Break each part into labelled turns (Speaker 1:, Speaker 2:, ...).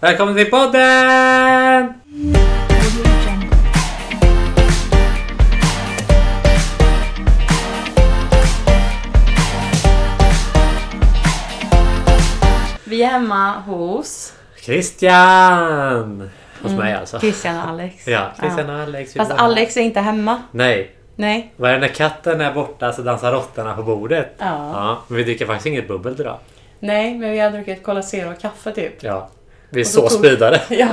Speaker 1: Välkommen till podden!
Speaker 2: Vi är hemma hos
Speaker 1: Christian! Hos mig alltså.
Speaker 2: Christian och Alex.
Speaker 1: Ja, Christian och Alex. vi
Speaker 2: Mm. Fast
Speaker 1: bor här.
Speaker 2: Alex är inte hemma.
Speaker 1: Nej.
Speaker 2: Nej.
Speaker 1: Varje när katten är borta så dansar råttorna på bordet.
Speaker 2: Ja.
Speaker 1: Ja, men vi dricker faktiskt inget bubbel idag.
Speaker 2: Nej, men vi har druckit Cola Zero och kaffe typ.
Speaker 1: Ja. Vi är
Speaker 2: så
Speaker 1: så
Speaker 2: tog-
Speaker 1: speedade.
Speaker 2: Ja.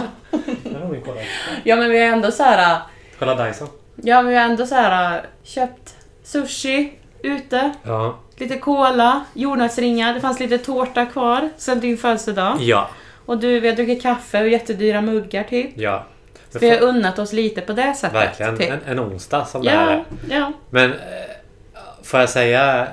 Speaker 2: ja, men vi har ändå så här.
Speaker 1: Kolla Dyson.
Speaker 2: Ja, men vi har ändå så här köpt sushi ute,
Speaker 1: Ja.
Speaker 2: lite cola, jordnötsringar, det fanns lite tårta kvar sen din födelsedag.
Speaker 1: Ja.
Speaker 2: Och du, vi har druckit kaffe och jättedyra muggar typ.
Speaker 1: Ja.
Speaker 2: Så vi har unnat oss lite på det sättet.
Speaker 1: Verkligen
Speaker 2: Typ.
Speaker 1: en, en onsdag som det här
Speaker 2: Ja,
Speaker 1: är.
Speaker 2: ja.
Speaker 1: Men eh, får jag säga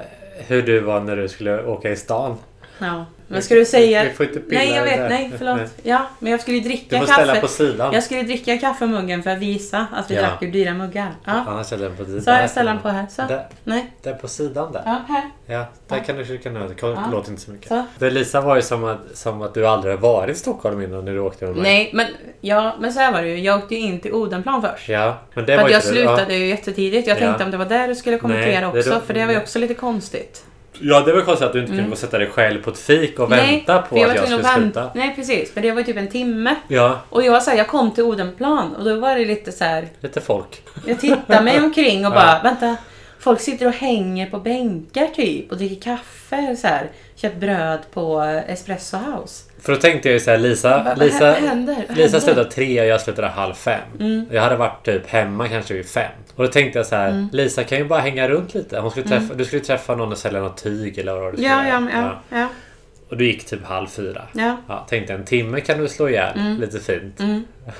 Speaker 1: hur du var när du skulle åka i stan?
Speaker 2: Ja. Men ska du säga...
Speaker 1: Vi får inte pilla
Speaker 2: nej, jag
Speaker 1: i det
Speaker 2: vet.
Speaker 1: här.
Speaker 2: Nej,
Speaker 1: Nej.
Speaker 2: förlåt. Ja, men jag skulle ju
Speaker 1: Du
Speaker 2: dricka
Speaker 1: får ställa på
Speaker 2: kaffe.
Speaker 1: sidan.
Speaker 2: Jag skulle ju dricka kaffemuggen för att visa att vi
Speaker 1: Ja.
Speaker 2: drack ur dyra muggar. Ja.
Speaker 1: Annars ställer jag den på sidan.
Speaker 2: Så jag ställer den på här. Så.
Speaker 1: Där,
Speaker 2: Nej.
Speaker 1: där på sidan där.
Speaker 2: Ja, här.
Speaker 1: Ja, där kan du kika ner. Det
Speaker 2: Ja.
Speaker 1: låter inte så mycket.
Speaker 2: Så.
Speaker 1: Det Lisa var ju som att, som att du aldrig har varit i Stockholm innan när du åkte med mig.
Speaker 2: Nej, men, ja, men så här var det ju. Jag åkte ju in till Odenplan först.
Speaker 1: Ja, men det
Speaker 2: för
Speaker 1: var
Speaker 2: att
Speaker 1: ju
Speaker 2: jag
Speaker 1: inte du.
Speaker 2: slutade ju jättetidigt. Jag
Speaker 1: Ja.
Speaker 2: tänkte om det var där du skulle kommentera
Speaker 1: Nej, det är
Speaker 2: också.
Speaker 1: då-
Speaker 2: För det var ju också lite konstigt.
Speaker 1: Ja, ja det var konstigt att du inte kunde gå och sätta dig själv på ett fik och vänta på
Speaker 2: Mm. för var
Speaker 1: att jag
Speaker 2: tvungen
Speaker 1: skulle
Speaker 2: att vänta.
Speaker 1: sluta.
Speaker 2: Nej, precis. Men det var ju typ en timme.
Speaker 1: Ja,
Speaker 2: Och jag var så här, jag kom till Odenplan och då var det lite så här.
Speaker 1: lite folk.
Speaker 2: Jag tittar mig omkring och
Speaker 1: Ja.
Speaker 2: bara, vänta. Folk sitter och hänger på bänkar typ och dricker kaffe och så här. Köpt bröd på eh, Espresso House.
Speaker 1: För då tänkte jag ju såhär Lisa,
Speaker 2: vad Mm.
Speaker 1: Lisa,
Speaker 2: händer? Vad
Speaker 1: Lisa
Speaker 2: händer?
Speaker 1: slutade tre och jag slutade halv fem. Jag hade varit typ hemma kanske vid fem. Och då tänkte jag så här:
Speaker 2: Mm.
Speaker 1: Lisa kan ju bara hänga runt lite. Hon skulle träffa, Du skulle träffa någon och sälja något tyg eller vad det skulle
Speaker 2: Ja,
Speaker 1: vara.
Speaker 2: ja, ja, ja.
Speaker 1: Och du gick typ halv fyra.
Speaker 2: ja.
Speaker 1: Ja, tänkte en timme kan du slå ihjäl
Speaker 2: Mm.
Speaker 1: lite fint.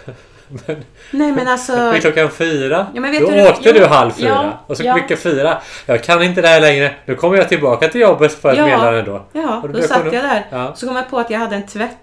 Speaker 1: men
Speaker 2: Nej men alltså.
Speaker 1: vid klockan fyra,
Speaker 2: Ja, men vet
Speaker 1: då
Speaker 2: du-
Speaker 1: åkte
Speaker 2: ja,
Speaker 1: du halv fyra.
Speaker 2: ja,
Speaker 1: och så
Speaker 2: ja.
Speaker 1: klockan fyra, jag kan inte det här längre. Nu kommer jag tillbaka till jobbet för att
Speaker 2: Ja.
Speaker 1: meddelande då.
Speaker 2: Ja,
Speaker 1: Och
Speaker 2: då
Speaker 1: blev
Speaker 2: satt
Speaker 1: hon-
Speaker 2: jag där.
Speaker 1: Ja.
Speaker 2: Så kom jag på att jag hade en tvätt.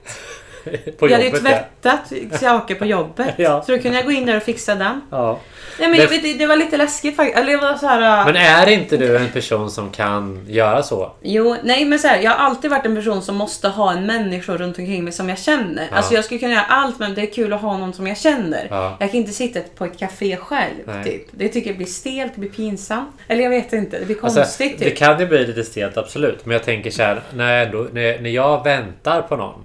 Speaker 1: På
Speaker 2: jag hade ju
Speaker 1: jobbet ja.
Speaker 2: tvättat saker på jobbet.
Speaker 1: Ja.
Speaker 2: Så då kunde jag gå in där och fixa den.
Speaker 1: ja.
Speaker 2: Nej men
Speaker 1: Det-
Speaker 2: jag vet, inte, det var lite läskigt faktiskt. Eller det var så här. äh,
Speaker 1: Men är inte du en person som kan göra så?
Speaker 2: Jo, nej men så här, jag har alltid varit en person som måste ha en människa runt omkring mig som jag känner. Alltså jag skulle kunna göra allt men det är kul att ha någon som jag känner.
Speaker 1: Ja.
Speaker 2: Jag kan inte sitta på ett café själv
Speaker 1: Nej.
Speaker 2: typ. Det tycker jag blir stelt, det blir pinsamt. Eller jag vet inte, det blir
Speaker 1: Alltså,
Speaker 2: konstigt typ.
Speaker 1: det kan ju bli lite stelt absolut. Men jag tänker så här, när jag, ändå, när, när jag väntar på någon.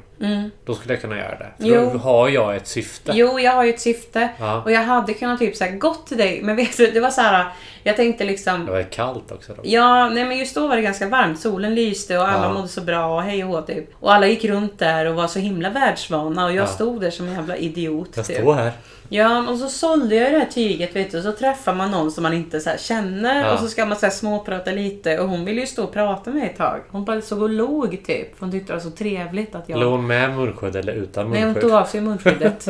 Speaker 1: Då skulle jag kunna göra det. För då
Speaker 2: Mm. Jo.
Speaker 1: har jag ett syfte.
Speaker 2: Jo, jag har ju ett syfte
Speaker 1: Ja.
Speaker 2: och jag hade kunnat typ så här, gått till dig men vet du, det var så här. Jag tänkte liksom
Speaker 1: Det var ju kallt också. Då.
Speaker 2: Ja, nej men just då var det ganska varmt. Solen lyste och alla
Speaker 1: Ja.
Speaker 2: mådde så bra och hej och hå typ. Och alla gick runt där och var så himla världsvana och jag
Speaker 1: Ja.
Speaker 2: stod där som en jävla idiot.
Speaker 1: Jag
Speaker 2: typ.
Speaker 1: står här.
Speaker 2: Ja, och så sålde jag det här tyget vet du. Och så träffar man någon som man inte så här känner
Speaker 1: Ja.
Speaker 2: och så ska man så här småprata lite. Och hon ville ju stå och prata med mig ett tag. Hon bara såg och log typ. Hon tyckte det var så trevligt att jag...
Speaker 1: Låg hon med munskydd eller utan
Speaker 2: nej, hon
Speaker 1: munskydd?
Speaker 2: tog av sig munskyddet.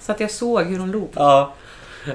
Speaker 2: så att jag såg hur hon log.
Speaker 1: Ja,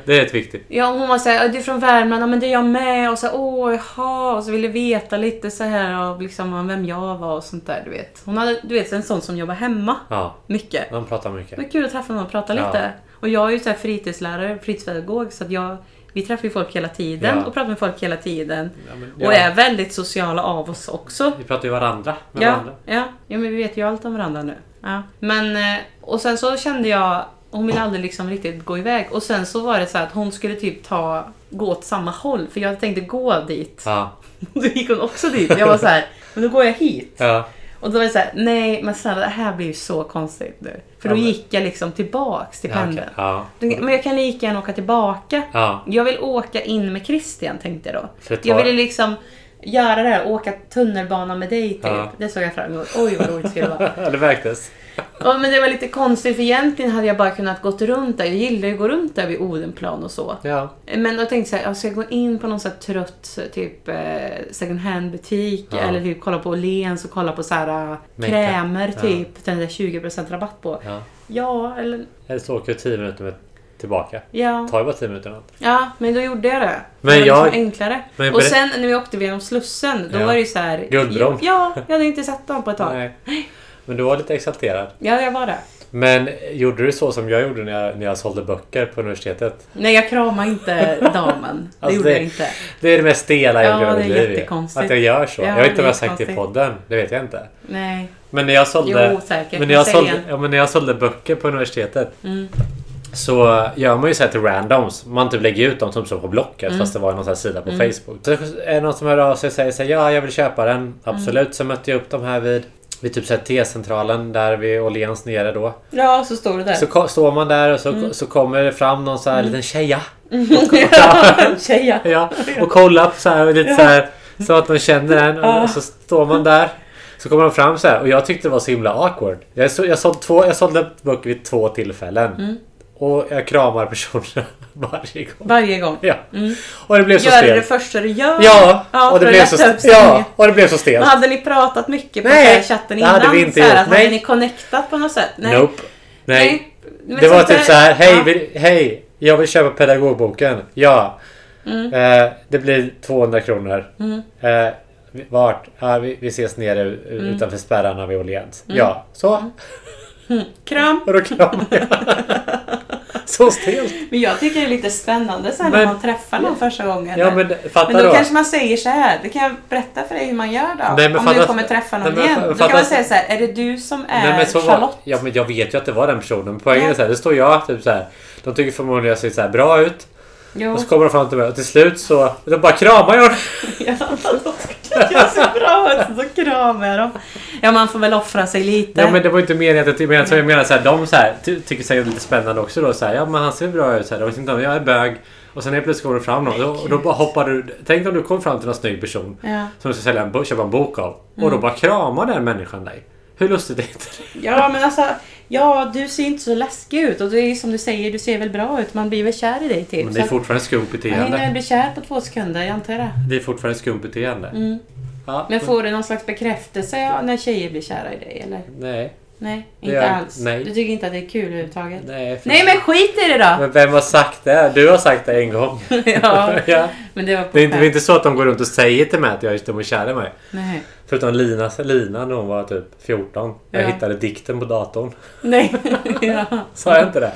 Speaker 1: det är ett viktigt.
Speaker 2: Ja, och hon var såhär, du är från Värmland, ja men det är jag med. Och så här, åh jaha. Och så ville veta lite så här och liksom om vem jag var och sånt där du vet. Hon hade, du vet, en sån som jobbar hemma.
Speaker 1: Ja,
Speaker 2: Mycket.
Speaker 1: de pratar
Speaker 2: Det
Speaker 1: mycket.
Speaker 2: var kul att träffa någon och prata
Speaker 1: Ja.
Speaker 2: lite. Och jag är ju så här fritidslärare, fritidspedagog så att jag, vi träffar ju folk hela tiden
Speaker 1: Ja.
Speaker 2: och pratar med folk hela tiden.
Speaker 1: Ja, men,
Speaker 2: Och
Speaker 1: ja,
Speaker 2: är väldigt sociala av oss också.
Speaker 1: vi pratar ju varandra med
Speaker 2: Ja,
Speaker 1: varandra.
Speaker 2: ja, ja, men vi vet ju allt om varandra nu. Ja. Men, eh, och sen så kände jag, hon ville aldrig liksom riktigt gå iväg. Och sen så var det så här att hon skulle typ ta, gå åt samma håll, för jag tänkte gå dit.
Speaker 1: Ja,
Speaker 2: Då gick hon också dit. Jag var så här, men då går jag hit.
Speaker 1: ja.
Speaker 2: Och då var det så här, nej men snälla det här blir ju så konstigt nu. För då
Speaker 1: Ja, men-
Speaker 2: gick jag liksom tillbaks till
Speaker 1: Ja,
Speaker 2: pendeln.
Speaker 1: okej. ja.
Speaker 2: Men jag kan lika gärna åka tillbaka.
Speaker 1: ja.
Speaker 2: Jag vill åka in med Christian tänkte jag då.
Speaker 1: För ett
Speaker 2: Jag
Speaker 1: tag.
Speaker 2: ville liksom göra det här, åka tunnelbana med dig typ.
Speaker 1: Ja.
Speaker 2: Det såg jag fram emot. Oj vad roligt det skulle vara.
Speaker 1: Ja, det märktes.
Speaker 2: Ja, men det var lite konstigt för egentligen hade jag bara kunnat gått runt där. Jag gillar ju att gå runt där vid Odenplan och så.
Speaker 1: Ja.
Speaker 2: Men då tänkte jag, så här, jag ska gå in på någon så här trött typ eh, second hand butik
Speaker 1: Ja.
Speaker 2: eller typ kolla på Åhléns och kolla på så här eh,
Speaker 1: Makeup.
Speaker 2: krämer
Speaker 1: Ja.
Speaker 2: typ. Den där 20% rabatt på.
Speaker 1: ja.
Speaker 2: Ja, eller
Speaker 1: Eller så åker du 10 minuter med tillbaka.
Speaker 2: ja.
Speaker 1: tar ju bara 10 minuter. något.
Speaker 2: Ja, men då gjorde jag det.
Speaker 1: Men
Speaker 2: det var
Speaker 1: jag-
Speaker 2: liksom enklare.
Speaker 1: men
Speaker 2: och
Speaker 1: berä-
Speaker 2: sen när vi åkte genom Slussen, då
Speaker 1: Ja.
Speaker 2: var det ju så här...
Speaker 1: Guldbron.
Speaker 2: Ja, jag hade inte sett dem på ett tag.
Speaker 1: Nej. Men du var lite exalterad.
Speaker 2: Ja, jag var det.
Speaker 1: Men gjorde du så som jag gjorde när jag, när jag sålde böcker på universitetet?
Speaker 2: Nej, jag kramar inte damen. Det
Speaker 1: Alltså,
Speaker 2: gjorde
Speaker 1: det-
Speaker 2: jag inte.
Speaker 1: Det är det mest stela jag
Speaker 2: Ja,
Speaker 1: gjorde i
Speaker 2: det är
Speaker 1: mitt liv.
Speaker 2: jättekonstigt.
Speaker 1: Att jag gör så.
Speaker 2: Ja,
Speaker 1: jag vet inte
Speaker 2: det
Speaker 1: om
Speaker 2: är
Speaker 1: jag har sagt det i
Speaker 2: jättekonstigt.
Speaker 1: podden. Det vet jag inte.
Speaker 2: Nej.
Speaker 1: Men när jag sålde...
Speaker 2: Jo, säkert.
Speaker 1: Men när, jag
Speaker 2: Säg
Speaker 1: sålde,
Speaker 2: igen.
Speaker 1: ja, men när jag sålde böcker på universitetet
Speaker 2: Mm.
Speaker 1: så gör man ju så här till randoms. Man typ lägger ut dem som står på Blocket
Speaker 2: Mm.
Speaker 1: fast det var någon sån här sida på Facebook. Så är det någon som hör av sig och säger så här, ja jag vill köpa
Speaker 2: Mm.
Speaker 1: den. Absolut. Så mötte jag upp dem här vid, vid typ så här T-centralen där vid Åhléns nere då.
Speaker 2: Ja, så står det där.
Speaker 1: Så ko- står man där och så,
Speaker 2: Mm.
Speaker 1: så kommer det fram någon så här liten tjeja.
Speaker 2: Tjeja.
Speaker 1: Ja, och kollar på så här och lite så här så att de känner den och så står man där. Så kommer de fram så här och jag tyckte det var så himla awkward. Jag, så, jag, sålde, två, jag sålde böcker vid två tillfällen. Och jag kramar personerna varje gång.
Speaker 2: Varje gång.
Speaker 1: Ja. Och det blev så
Speaker 2: Gör det
Speaker 1: stelt.
Speaker 2: första du gör.
Speaker 1: Ja, och
Speaker 2: för
Speaker 1: det
Speaker 2: att
Speaker 1: blev så,
Speaker 2: lätta upp
Speaker 1: ja,
Speaker 2: stämningen.
Speaker 1: och det blev så stelt.
Speaker 2: Men hade ni pratat mycket på
Speaker 1: Nej,
Speaker 2: så här chatten
Speaker 1: det
Speaker 2: innan?
Speaker 1: hade vi inte
Speaker 2: så här,
Speaker 1: gjort.
Speaker 2: att Hade
Speaker 1: Nej.
Speaker 2: ni connectat på något sätt? Nej.
Speaker 1: Nope. Nej.
Speaker 2: Men
Speaker 1: Det var
Speaker 2: sånt
Speaker 1: typ
Speaker 2: där-
Speaker 1: så här. Hej,
Speaker 2: Ja.
Speaker 1: vill, hej, jag vill köpa pedagogboken. Ja.
Speaker 2: Mm.
Speaker 1: Eh, det blir 200 kronor. Eh, vi- vart? Ja, vi, vi ses nere u-
Speaker 2: Mm.
Speaker 1: utanför spärrarna vid Åhléns. Ja, så.
Speaker 2: Kram.
Speaker 1: Och då kramar jag. så stelt.
Speaker 2: Men jag tycker det är lite spännande sen när
Speaker 1: Men-
Speaker 2: man träffar någon första gången.
Speaker 1: Ja, men fatta
Speaker 2: Men då
Speaker 1: då.
Speaker 2: kanske man säger så här. Det kan jag berätta för dig hur man gör då.
Speaker 1: Nej, men
Speaker 2: om du
Speaker 1: fattas-
Speaker 2: kommer träffa någon
Speaker 1: Nej, men
Speaker 2: igen.
Speaker 1: fa-
Speaker 2: Då kan
Speaker 1: fattas-
Speaker 2: man säga så här. Är det du som är
Speaker 1: Nej, men så var,
Speaker 2: Charlotte?
Speaker 1: ja, men jag vet ju att det var den personen. Men poängen
Speaker 2: Ja.
Speaker 1: är så här, det står jag typ så här. De tycker förmodligen jag ser så här bra ut.
Speaker 2: Jo.
Speaker 1: Och så kommer de fram till mig och till slut så då bara kramar jag
Speaker 2: Ja, de tycker att jag ser bra ut. Så kramar jag dem. Ja, man får väl offra sig lite.
Speaker 1: Ja men det var ju inte meningen att jag menade så. Jag menar så här, de så här, ty, tycker säkert det är lite spännande också då. Så här, ja men han ser bra ut. Så här, de vet inte om jag är bög. Och sen helt plötsligt kommer det fram någon. Och då, och då bara hoppar du. Tänk om du kom fram till någon snygg person.
Speaker 2: Ja.
Speaker 1: Som du ska sälja en, bo- köpa en bok av. Och
Speaker 2: Mm.
Speaker 1: då bara kramar den människan dig. Hur lustigt är inte det?
Speaker 2: Ja, men alltså. Ja, du ser inte så läskig ut. Och det är som du säger, du ser väl bra ut. Man blir väl kär i dig typ.
Speaker 1: Men det är
Speaker 2: Så att-
Speaker 1: fortfarande skumt
Speaker 2: Man hinner
Speaker 1: beteende.
Speaker 2: bli kär på två sekunder, jag antar det.
Speaker 1: Det är fortfarande skumt beteende. Ja,
Speaker 2: Mm. Men får du någon slags bekräftelse ja, när tjejer blir kära i dig eller?
Speaker 1: Nej,
Speaker 2: Nej,
Speaker 1: Det
Speaker 2: inte
Speaker 1: gör-
Speaker 2: alls.
Speaker 1: nej.
Speaker 2: Du tycker inte att det är kul överhuvudtaget? Nej,
Speaker 1: nej. för-
Speaker 2: men skit i det då!
Speaker 1: Men vem har sagt det? Du har sagt det en gång.
Speaker 2: ja,
Speaker 1: ja.
Speaker 2: men det var på
Speaker 1: Det är inte, det är
Speaker 2: skämt.
Speaker 1: inte så att de går runt och säger till mig att jag är de är kär i mig.
Speaker 2: Nej.
Speaker 1: Förutom Lina, Lina när hon var typ 14.
Speaker 2: Ja.
Speaker 1: Jag hittade dikten på datorn.
Speaker 2: Nej. ja.
Speaker 1: Sa jag inte det?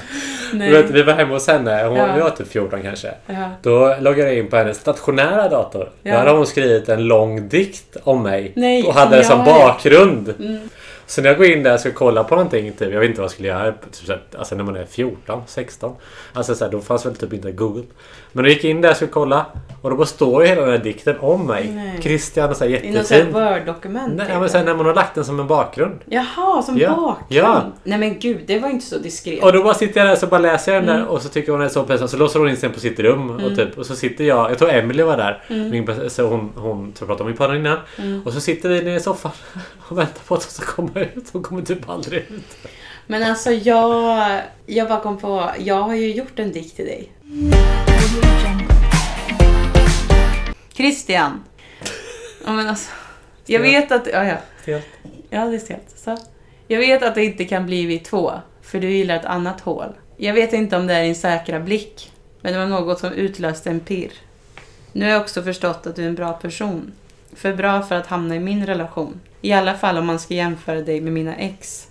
Speaker 1: Du vet,
Speaker 2: Nej.
Speaker 1: vi var hemma hos henne. Hon,
Speaker 2: Ja.
Speaker 1: Vi var typ 14 kanske.
Speaker 2: Ja.
Speaker 1: Då loggade jag in på hennes stationära dator.
Speaker 2: Ja.
Speaker 1: Då hade hon skrivit en lång dikt om mig.
Speaker 2: Nej, Mm.
Speaker 1: och hade det
Speaker 2: som
Speaker 1: som
Speaker 2: jag är.
Speaker 1: bakgrund. Så när jag går in där och ska kolla på någonting. Typ, jag vet inte vad jag skulle göra. Typ, så här, alltså när man är 14, 16. Alltså så här, då fanns väl typ inte Google. Men jag gick in där och skulle kolla. Och då bara står ju hela den här dikten om mig.
Speaker 2: Nej.
Speaker 1: Christian, så här,
Speaker 2: I något sånt
Speaker 1: jättefin.
Speaker 2: Word-dokument?
Speaker 1: Nej,
Speaker 2: typ.
Speaker 1: men sen när man har lagt den som en bakgrund.
Speaker 2: Jaha, som
Speaker 1: Ja,
Speaker 2: bakgrund?
Speaker 1: ja.
Speaker 2: Nej men gud, det var inte så diskret.
Speaker 1: Och då bara sitter jag där och så bara läser jag den
Speaker 2: Mm.
Speaker 1: där och så tycker hon att det är så pinsamt. Så låser hon in sig på sitt rum och, typ, och så sitter jag, jag tror Emily var där,
Speaker 2: Mm.
Speaker 1: min, bästa- så hon, hon tror jag pratade om i podden innan. Och så sitter vi nere i soffan och väntar på att hon ska komma ut. Hon kommer typ aldrig ut.
Speaker 2: Men alltså jag, jag bara kom på, jag har ju gjort en dikt till dig. Christian. Ja, men alltså, jag vet att... Ja, ja.
Speaker 1: Stelt.
Speaker 2: ja det är stelt. Så. Jag vet att det inte kan bli vi två, för du gillar ett annat hål. Jag vet inte om det är din säkra blick, men det var något som utlöste en pirr. Nu har jag också förstått att du är en bra person. För bra för att hamna i min relation. I alla fall om man ska jämföra dig med mina ex.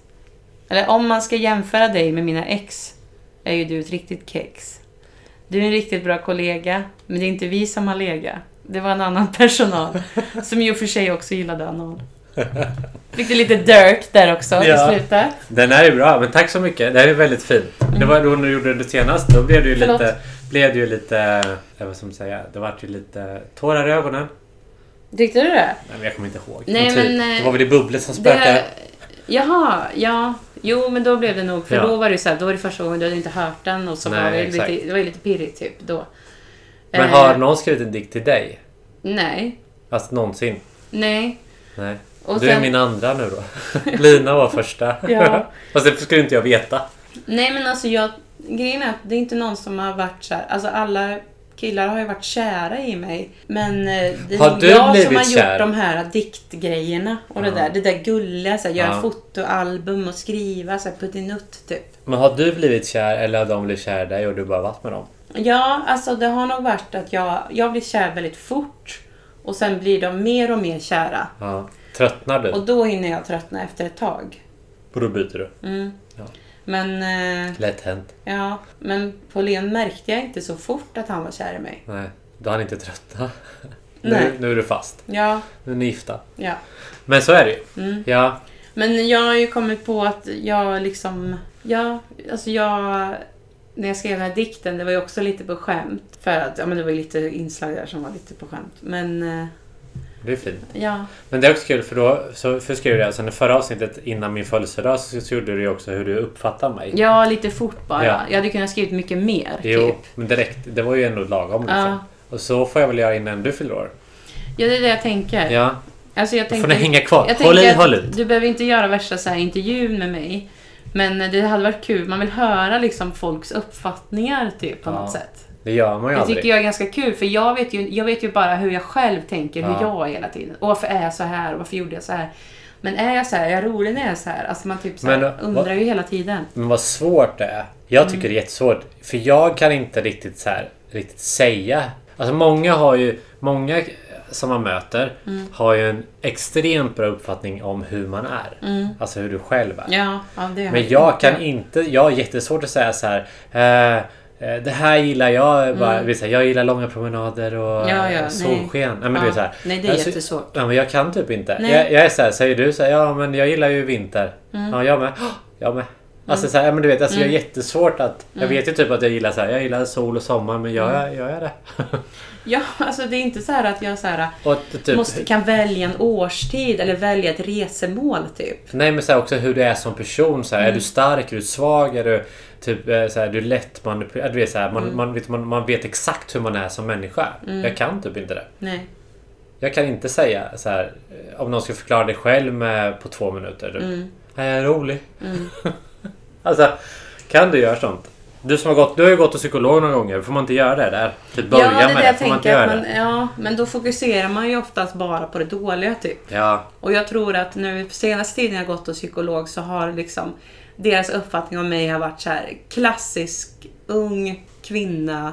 Speaker 2: Eller om man ska jämföra dig med mina ex är ju du ett riktigt kex. Du är en riktigt bra kollega, men det är inte vi som har legat. Det var en annan personal, som ju för sig också gillade anal. Fick du lite dirt där också
Speaker 1: Ja.
Speaker 2: i slutet?
Speaker 1: Den här är bra, men tack så mycket. Det här är väldigt fint. Det var då du gjorde det senast. Då blev det ju
Speaker 2: Mm. Förlåt.
Speaker 1: lite... Blev det ju lite... eh, Jag vet som säga, det vart ju lite tårar i ögonen.
Speaker 2: Tyckte du det?
Speaker 1: Nej, men jag kommer inte ihåg.
Speaker 2: Nej,
Speaker 1: typ,
Speaker 2: men, eh,
Speaker 1: det var väl det bubblet som spökade.
Speaker 2: Det, jaha, ja. Jo, men då blev det nog. För
Speaker 1: Ja.
Speaker 2: då var det ju så här, då var det första gången du hade inte hört den och så
Speaker 1: Nej,
Speaker 2: var det,
Speaker 1: exakt.
Speaker 2: lite, det var ju lite pirrigt typ då.
Speaker 1: Men
Speaker 2: Eh,
Speaker 1: har någon skrivit en dikt till dig?
Speaker 2: Nej,
Speaker 1: Alltså någonsin?
Speaker 2: nej.
Speaker 1: Nej.
Speaker 2: Och
Speaker 1: du är
Speaker 2: sen-
Speaker 1: min andra nu då. Lina var första.
Speaker 2: Ja.
Speaker 1: Fast det skulle inte jag veta.
Speaker 2: Nej men alltså jag, grejen är att det är inte någon som har varit så här, alltså alla killar har ju varit kära i mig. Men eh, det är
Speaker 1: Har
Speaker 2: nog
Speaker 1: du
Speaker 2: jag som
Speaker 1: blivit
Speaker 2: har
Speaker 1: kär?
Speaker 2: gjort de här diktgrejerna och det
Speaker 1: Ja.
Speaker 2: där, det där gulliga, så här, göra
Speaker 1: Ja.
Speaker 2: fotoalbum och skriva så här puttinutt typ.
Speaker 1: Men har du blivit kär eller har de blivit kär i dig och du bara varit med dem?
Speaker 2: Ja, alltså det har nog varit att jag, jag blir kär väldigt fort och sen blir de mer och mer kära.
Speaker 1: Ja. Tröttnar du?
Speaker 2: Och då hinner jag tröttna efter ett tag.
Speaker 1: Och då byter du?
Speaker 2: Mm.
Speaker 1: Ja.
Speaker 2: Men, eh,
Speaker 1: Lätt hänt.
Speaker 2: ja, men på Len märkte jag inte så fort att han var kär i mig.
Speaker 1: Nej, då har han inte tröttnat.
Speaker 2: Nej.
Speaker 1: Nu, nu är du fast.
Speaker 2: Ja,
Speaker 1: Nu är ni gifta.
Speaker 2: ja.
Speaker 1: Men så är det ju.
Speaker 2: Mm.
Speaker 1: Ja,
Speaker 2: Men jag har ju kommit på att jag liksom... Ja, alltså jag... När jag skrev den här dikten, det var ju också lite på skämt. För att, ja men det var ju lite inslag där som var lite på skämt. Men, eh,
Speaker 1: det är fint.
Speaker 2: ja.
Speaker 1: Men det är också kul för då så för skrev du alltså, i förra avsnittet innan min födelsedag så, så gjorde du ju också hur du uppfattar mig.
Speaker 2: Ja, lite fort bara.
Speaker 1: Ja.
Speaker 2: Jag hade kunnat skrivit mycket mer,
Speaker 1: Jo,
Speaker 2: typ.
Speaker 1: men direkt. Det var ju ändå lagom liksom.
Speaker 2: Ja.
Speaker 1: Och så får jag väl göra innan du fyller år.
Speaker 2: Ja, det är det jag tänker.
Speaker 1: Ja,
Speaker 2: Alltså, jag
Speaker 1: då
Speaker 2: tänker
Speaker 1: får ni hänga kvar.
Speaker 2: jag
Speaker 1: håll i,
Speaker 2: tänker
Speaker 1: håll
Speaker 2: att
Speaker 1: ut.
Speaker 2: Du behöver inte göra värsta så här intervjun med mig. Men det hade varit kul. Man vill höra liksom folks uppfattningar typ på
Speaker 1: Ja.
Speaker 2: något sätt.
Speaker 1: Det gör man ju
Speaker 2: Det
Speaker 1: aldrig.
Speaker 2: tycker jag är ganska kul för jag vet ju, jag vet ju bara hur jag själv tänker, hur
Speaker 1: Ja.
Speaker 2: jag är hela tiden. Och varför är jag så här? Och varför gjorde jag så här? Men är jag så här? Är jag rolig när jag är så här? Alltså man typ så här,
Speaker 1: Men, eh,
Speaker 2: undrar
Speaker 1: vad-
Speaker 2: ju hela tiden.
Speaker 1: Men vad svårt det är. Jag
Speaker 2: Mm.
Speaker 1: tycker det är jättesvårt. För jag kan inte riktigt så här, riktigt säga. Alltså många har ju, många som man möter
Speaker 2: Mm.
Speaker 1: har ju en extremt bra uppfattning om hur man är.
Speaker 2: Mm.
Speaker 1: Alltså hur du själv är.
Speaker 2: Ja, ja det har
Speaker 1: Men jag kan inte, jag har jättesvårt att säga så här. Eh, eh, det här gillar jag. Bara, mm. så här, jag gillar långa promenader och
Speaker 2: Ja, ja,
Speaker 1: eh,
Speaker 2: nej.
Speaker 1: solsken. Nej, men du vet så här,
Speaker 2: Nej, det är
Speaker 1: alltså,
Speaker 2: jättesvårt.
Speaker 1: Ja, men jag kan typ inte.
Speaker 2: Nej. Mm.
Speaker 1: Jag, jag är så här, säger du så här, ja men jag gillar ju vinter. Ja, jag med. Jag med. Alltså så här, ja, men du vet, alltså, jag är jättesvårt att... Jag
Speaker 2: Mm.
Speaker 1: vet ju typ att jag gillar så här, jag gillar sol och sommar men gör jag, gör jag det?
Speaker 2: Ja, alltså det är inte så här att jag så här,
Speaker 1: och typ,
Speaker 2: måste, kan välja en årstid eller välja ett resemål typ.
Speaker 1: Nej men så här, också hur du är som person. Så här,
Speaker 2: Mm.
Speaker 1: Är du stark? Är du svag? Är du, typ, eh, så här, du lätt manipulerad? Du vet, så här,
Speaker 2: Mm.
Speaker 1: man, man, vet, man, man vet exakt hur man är som människa. Jag kan typ inte det.
Speaker 2: Nej.
Speaker 1: Jag kan inte säga så här, eh, om någon ska förklara det själv med, på två minuter. Typ.
Speaker 2: Mm.
Speaker 1: "Nej, Jag är rolig. alltså, kan du göra sånt? Du som har gått, du har ju gått till psykolog några gånger. Får man inte göra det där? Typ börja
Speaker 2: ja, det är
Speaker 1: med
Speaker 2: det
Speaker 1: det.
Speaker 2: jag
Speaker 1: Får man inte
Speaker 2: tänker.
Speaker 1: göra
Speaker 2: Att man,
Speaker 1: det?
Speaker 2: ja, men då fokuserar man ju oftast bara på det dåliga typ.
Speaker 1: Ja,
Speaker 2: Och jag tror att nu på senaste tiden jag gått hos psykolog så har liksom deras uppfattning om mig har varit så här klassisk ung kvinna,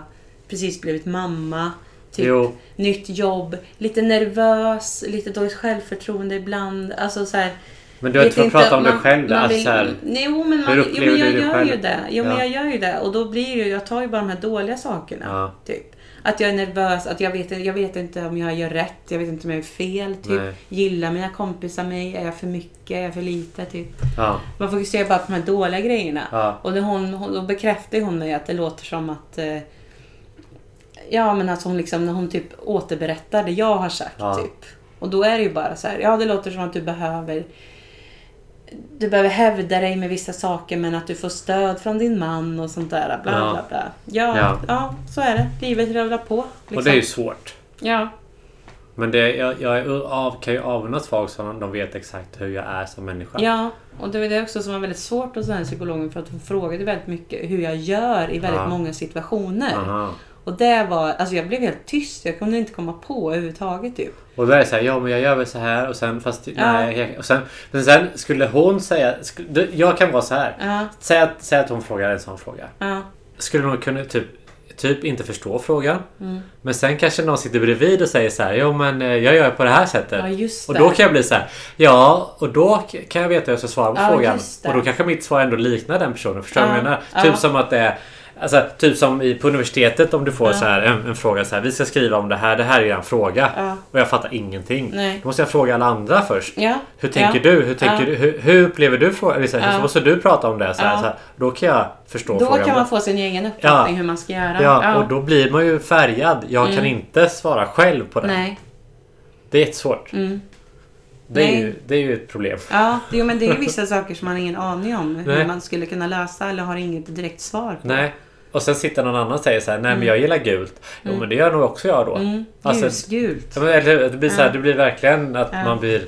Speaker 2: precis blivit mamma, typ
Speaker 1: Jo.
Speaker 2: nytt jobb, lite nervös, lite dåligt självförtroende ibland. Alltså så här,
Speaker 1: men du har
Speaker 2: vet
Speaker 1: inte fått
Speaker 2: att
Speaker 1: prata om dig
Speaker 2: man-
Speaker 1: själv.
Speaker 2: man
Speaker 1: Alltså,
Speaker 2: vill- Mm,
Speaker 1: så här,
Speaker 2: Jo men, man,
Speaker 1: Hur
Speaker 2: jo, men
Speaker 1: upplever
Speaker 2: jag
Speaker 1: du dig
Speaker 2: gör
Speaker 1: själv?
Speaker 2: ju det. Jo, men
Speaker 1: Ja.
Speaker 2: jag gör ju det. Och då blir ju, jag tar ju bara de här dåliga sakerna.
Speaker 1: Ja.
Speaker 2: Typ. Att jag är nervös, att jag vet, jag vet inte om jag gör rätt, jag vet inte om jag gör fel. Typ.
Speaker 1: Nej.
Speaker 2: Gillar mina kompisar mig? Är jag för mycket? Är jag för lite? Typ.
Speaker 1: ja,
Speaker 2: Man fokuserar bara på de här dåliga grejerna.
Speaker 1: Ja.
Speaker 2: Och det hon, hon, då bekräftar ju hon mig att det låter som att eh, Ja men att hon liksom, när hon typ återberättar det jag har sagt
Speaker 1: Ja.
Speaker 2: typ. Och då är det ju bara så här, ja det låter som att du behöver Du behöver hävda dig med vissa saker men att du får stöd från din man och sånt där. Bla,
Speaker 1: Ja.
Speaker 2: bla, bla. Ja, ja.
Speaker 1: Ja.
Speaker 2: så är det. Livet rullar på. Liksom.
Speaker 1: och det är ju svårt.
Speaker 2: Ja.
Speaker 1: Men det, jag, jag är av, kan ju avundas folk som de vet exakt hur jag är som människa.
Speaker 2: Ja, och det var det också som var väldigt svårt hos den här psykologen för att hon frågade väldigt mycket hur jag gör i väldigt
Speaker 1: Ja.
Speaker 2: många situationer.
Speaker 1: Aha.
Speaker 2: Och det var, alltså jag blev helt tyst, jag kunde inte komma på överhuvudtaget typ.
Speaker 1: Och då är det så här, ja men jag gör väl så här och sen fast... Nej, jag, och sen, men sen skulle hon säga... Skulle, du, jag kan vara så här.
Speaker 2: Ja,
Speaker 1: Säg, att, säg att hon frågar en sån fråga.
Speaker 2: ja,
Speaker 1: Skulle någon kunna typ, typ inte förstå frågan. Men sen kanske någon sitter bredvid och säger så här, jo men eh, jag gör på det här sättet.
Speaker 2: Ja, just
Speaker 1: och
Speaker 2: det.
Speaker 1: då kan jag bli så här, ja och då k- kan jag veta hur jag ska svara på
Speaker 2: Ja,
Speaker 1: frågan.
Speaker 2: just det.
Speaker 1: Och då kanske mitt svar ändå liknar den personen. Förstår du vad jag
Speaker 2: Ja,
Speaker 1: menar?
Speaker 2: ja.
Speaker 1: Typ som att det är Alltså, typ som i, på universitetet om du får så här, en, en fråga så här. Vi ska skriva om det här. Det här är en fråga.
Speaker 2: Ja.
Speaker 1: Och jag fattar ingenting.
Speaker 2: Nej.
Speaker 1: Då måste jag fråga alla andra först.
Speaker 2: ja.
Speaker 1: Hur tänker
Speaker 2: ja.
Speaker 1: du? Hur, tänker
Speaker 2: Ja.
Speaker 1: du? Hur, hur upplever du frågan? Liksom,
Speaker 2: Ja.
Speaker 1: Så måste du prata om det. Så här,
Speaker 2: Ja.
Speaker 1: så här, då kan jag förstå
Speaker 2: Då
Speaker 1: frågan.
Speaker 2: kan man få sin egen uppfattning
Speaker 1: Ja.
Speaker 2: hur man ska göra.
Speaker 1: ja, och då blir man ju färgad. Jag kan inte svara själv på det.
Speaker 2: Mm. Nej. Mm.
Speaker 1: Det är jättesvårt. Det, är
Speaker 2: Nej.
Speaker 1: ju, det är ju ett problem.
Speaker 2: Ja, det, jo, men det är ju vissa saker som man har ingen aning om hur
Speaker 1: Nej.
Speaker 2: man skulle kunna lösa eller har inget direkt svar på.
Speaker 1: Nej. Och sen sitter någon annan och säger så här, nej
Speaker 2: Mm.
Speaker 1: men jag gillar gult. Jo men det gör nog också jag då. Mm. Alltså,
Speaker 2: Ljusgult.
Speaker 1: ja, men eller hur? det, blir så här, det blir verkligen att man blir...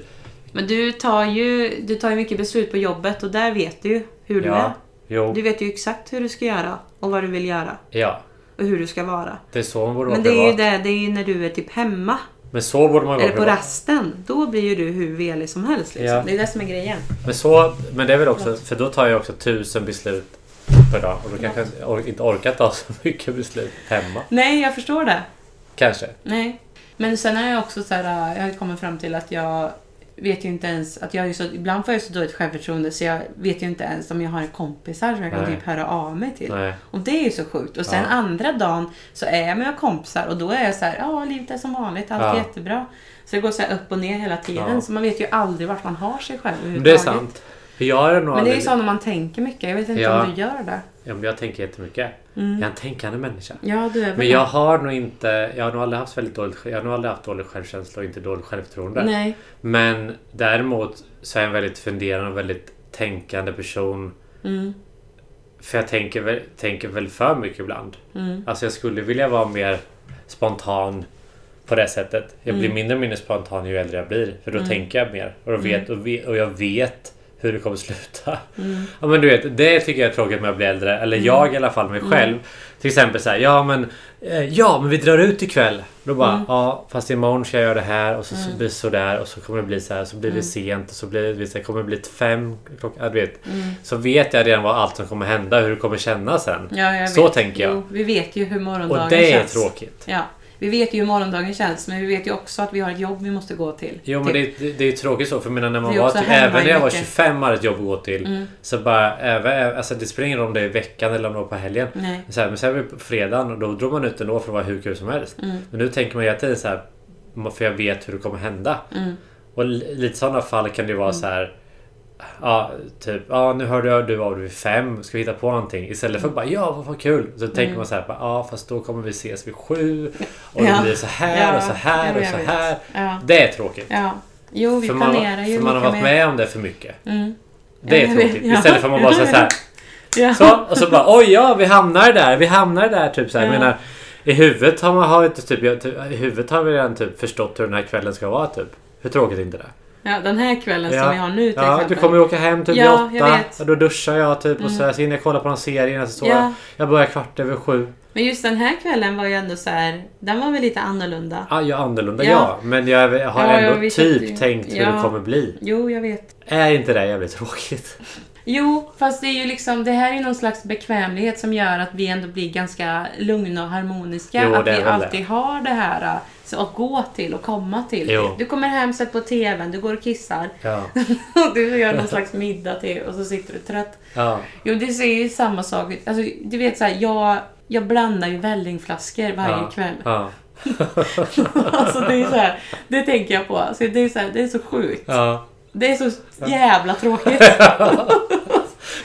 Speaker 2: Men du tar, ju, du tar ju mycket beslut på jobbet och där vet du ju hur du
Speaker 1: Ja,
Speaker 2: är.
Speaker 1: jo,
Speaker 2: Du vet ju exakt hur du ska göra och vad du vill göra
Speaker 1: ja.
Speaker 2: och hur du ska vara.
Speaker 1: Det är så man borde
Speaker 2: Men
Speaker 1: vara
Speaker 2: det är ju
Speaker 1: privat.
Speaker 2: det, det är ju när du är typ hemma
Speaker 1: Men så borde man vara
Speaker 2: eller på
Speaker 1: privat.
Speaker 2: rasten. Då blir ju du hur velig som helst. Liksom.
Speaker 1: Ja.
Speaker 2: Det är det som är grejen.
Speaker 1: Men, så, men det är väl också, för då tar jag också tusen beslut per dag. Och då kanske jag or- inte orkar ta så mycket beslut hemma.
Speaker 2: Nej, jag förstår det.
Speaker 1: Kanske.
Speaker 2: äh, Nej. Men sen har jag också så här, jag har ju kommit fram till att jag vet ju inte ens att jag är ju så, ibland får jag så dåligt självförtroende så jag vet ju inte ens om jag har kompisar som jag kan
Speaker 1: Nej.
Speaker 2: typ höra av mig till.
Speaker 1: Nej.
Speaker 2: Och det är ju så sjukt. Och sen
Speaker 1: Ja.
Speaker 2: andra dagen så är jag med mina kompisar och då är jag så här, ja livet är som vanligt, allt är
Speaker 1: Ja.
Speaker 2: jättebra. Så det går så här upp och ner hela tiden
Speaker 1: Ja.
Speaker 2: så man vet ju aldrig vart man har sig själv
Speaker 1: Men det är
Speaker 2: överhuvudtaget.
Speaker 1: sant. För jag är nog
Speaker 2: Men det är ju
Speaker 1: aldrig...
Speaker 2: så när man tänker mycket. Jag vet inte
Speaker 1: Ja.
Speaker 2: om du gör det.
Speaker 1: Ja, men jag tänker
Speaker 2: Mm.
Speaker 1: jättemycket. Jag är en tänkande människa.
Speaker 2: Ja, du är väl
Speaker 1: Men jag har nog inte... Jag har nog aldrig haft väldigt dåligt... Jag har nog aldrig haft dålig självkänsla och inte dåligt självförtroende.
Speaker 2: Nej.
Speaker 1: Men däremot så är jag en väldigt funderande och väldigt tänkande person.
Speaker 2: Mm.
Speaker 1: För jag tänker väl, tänker väl för mycket ibland.
Speaker 2: Mm.
Speaker 1: Alltså jag skulle vilja vara mer spontan på det sättet. Jag blir mindre och mindre spontan ju äldre jag blir. För då tänker jag mer. Och, då vet, och, ve- och jag vet hur det kommer sluta.
Speaker 2: mm,
Speaker 1: Ja, men du vet, det tycker jag är tråkigt med att bli äldre. Eller jag i alla fall,
Speaker 2: Mm.
Speaker 1: mig själv. Till exempel så här, ja men, eh, ja men vi drar ut ikväll. Då bara,
Speaker 2: Mm.
Speaker 1: ja fast imorgon ska jag göra det här och så, så blir det så där och så kommer det bli så här. Så
Speaker 2: Mm.
Speaker 1: blir det sent och så blir det, du vet, det kommer bli ett fem klockan. Ja, du vet.
Speaker 2: mm.
Speaker 1: Så vet jag redan vad allt som kommer hända och hur det kommer kännas sen.
Speaker 2: Ja, jag
Speaker 1: så
Speaker 2: vet.
Speaker 1: tänker jag.
Speaker 2: Jo, vi vet ju hur morgondagen
Speaker 1: Och det är
Speaker 2: Mm. känns.
Speaker 1: tråkigt.
Speaker 2: Ja. Vi vet ju hur morgondagen känns, men vi vet ju också att vi har ett jobb vi måste gå till.
Speaker 1: Jo men
Speaker 2: Typ.
Speaker 1: det, det, det är ju tråkigt så för jag menar, när man
Speaker 2: Det är
Speaker 1: var
Speaker 2: också Mm.
Speaker 1: typ,
Speaker 2: hemma
Speaker 1: även
Speaker 2: i
Speaker 1: när jag var
Speaker 2: mycket.
Speaker 1: 25 hade ett jobb att gå till. Så bara även, även- alltså det spelar ingen roll om det är i veckan eller om det var på helgen.
Speaker 2: Nej.
Speaker 1: Så här, men sen var det på fredagen och då drog man ut ändå för att vara hur kul som helst.
Speaker 2: Mm,
Speaker 1: Men nu tänker man hela tiden så här för jag vet hur det kommer hända.
Speaker 2: mm.
Speaker 1: Och li- lite sådana fall kan det ju vara så här Ja, typ ja, nu hörde du av dig vid fem, ska vi hitta på någonting? Istället för
Speaker 2: Mm.
Speaker 1: att bara ja, vad, vad kul. Så tänker man så här, bara, ja fast då kommer vi ses vid sju och
Speaker 2: Ja.
Speaker 1: det blir så här och så här
Speaker 2: Ja,
Speaker 1: och
Speaker 2: jag
Speaker 1: så
Speaker 2: vet.
Speaker 1: här.
Speaker 2: Ja.
Speaker 1: Det är tråkigt.
Speaker 2: ja. Jo, vi
Speaker 1: för man,
Speaker 2: planerar ju
Speaker 1: för man har
Speaker 2: mycket
Speaker 1: varit
Speaker 2: mer.
Speaker 1: med om det för mycket.
Speaker 2: Mm.
Speaker 1: Det är
Speaker 2: Ja, jag vet.
Speaker 1: tråkigt.
Speaker 2: Ja.
Speaker 1: Istället för att man bara säger så här.
Speaker 2: Ja.
Speaker 1: Så, och så bara oj ja, vi hamnar där. Vi hamnar där. Typ så här. Jag
Speaker 2: Ja.
Speaker 1: menar, I huvudet har man har inte typ, jag, typ, i huvudet har vi redan typ förstått hur den här kvällen ska vara typ. Hur tråkigt är inte det?
Speaker 2: ja, den här kvällen som vi har nu till
Speaker 1: ja,
Speaker 2: exempel.
Speaker 1: du kommer ju åka hem typ
Speaker 2: Ja,
Speaker 1: vid
Speaker 2: jag
Speaker 1: åtta.
Speaker 2: vet. Mm.
Speaker 1: Och då duschar jag typ och så, här, så hinner jag kolla på någon serie innan så sover
Speaker 2: Ja.
Speaker 1: jag. Jag börjar kvart över sju.
Speaker 2: Men just den här kvällen var ju ändå så här, den var väl lite annorlunda.
Speaker 1: Ah, jag är annorlunda
Speaker 2: Ja.
Speaker 1: ja. Men jag, är- har
Speaker 2: Ja, jag
Speaker 1: ändå
Speaker 2: vet
Speaker 1: typ
Speaker 2: att du-
Speaker 1: tänkt hur
Speaker 2: Ja.
Speaker 1: det kommer bli.
Speaker 2: Jo, jag vet.
Speaker 1: Är inte det jävligt tråkigt?
Speaker 2: Jo, fast det är ju liksom, det här är ju någon slags bekvämlighet som gör att vi ändå blir ganska lugna och harmoniska.
Speaker 1: Jo,
Speaker 2: att
Speaker 1: det är
Speaker 2: vi
Speaker 1: väl det.
Speaker 2: alltid har det här äh, så att gå till och komma till.
Speaker 1: Jo.
Speaker 2: Du kommer hem, sätter på TVn, du går och kissar.
Speaker 1: Ja.
Speaker 2: du gör någon slags middag till och så sitter du trött.
Speaker 1: ja.
Speaker 2: Jo, det ser ju samma sak ut. Alltså, du vet så här, jag, jag blandar ju vällingflaskor varje
Speaker 1: ja.
Speaker 2: kväll.
Speaker 1: Ja.
Speaker 2: alltså, det är så här, det tänker jag på. Alltså, det, är så här, det är så sjukt.
Speaker 1: ja.
Speaker 2: Det är så jävla tråkigt.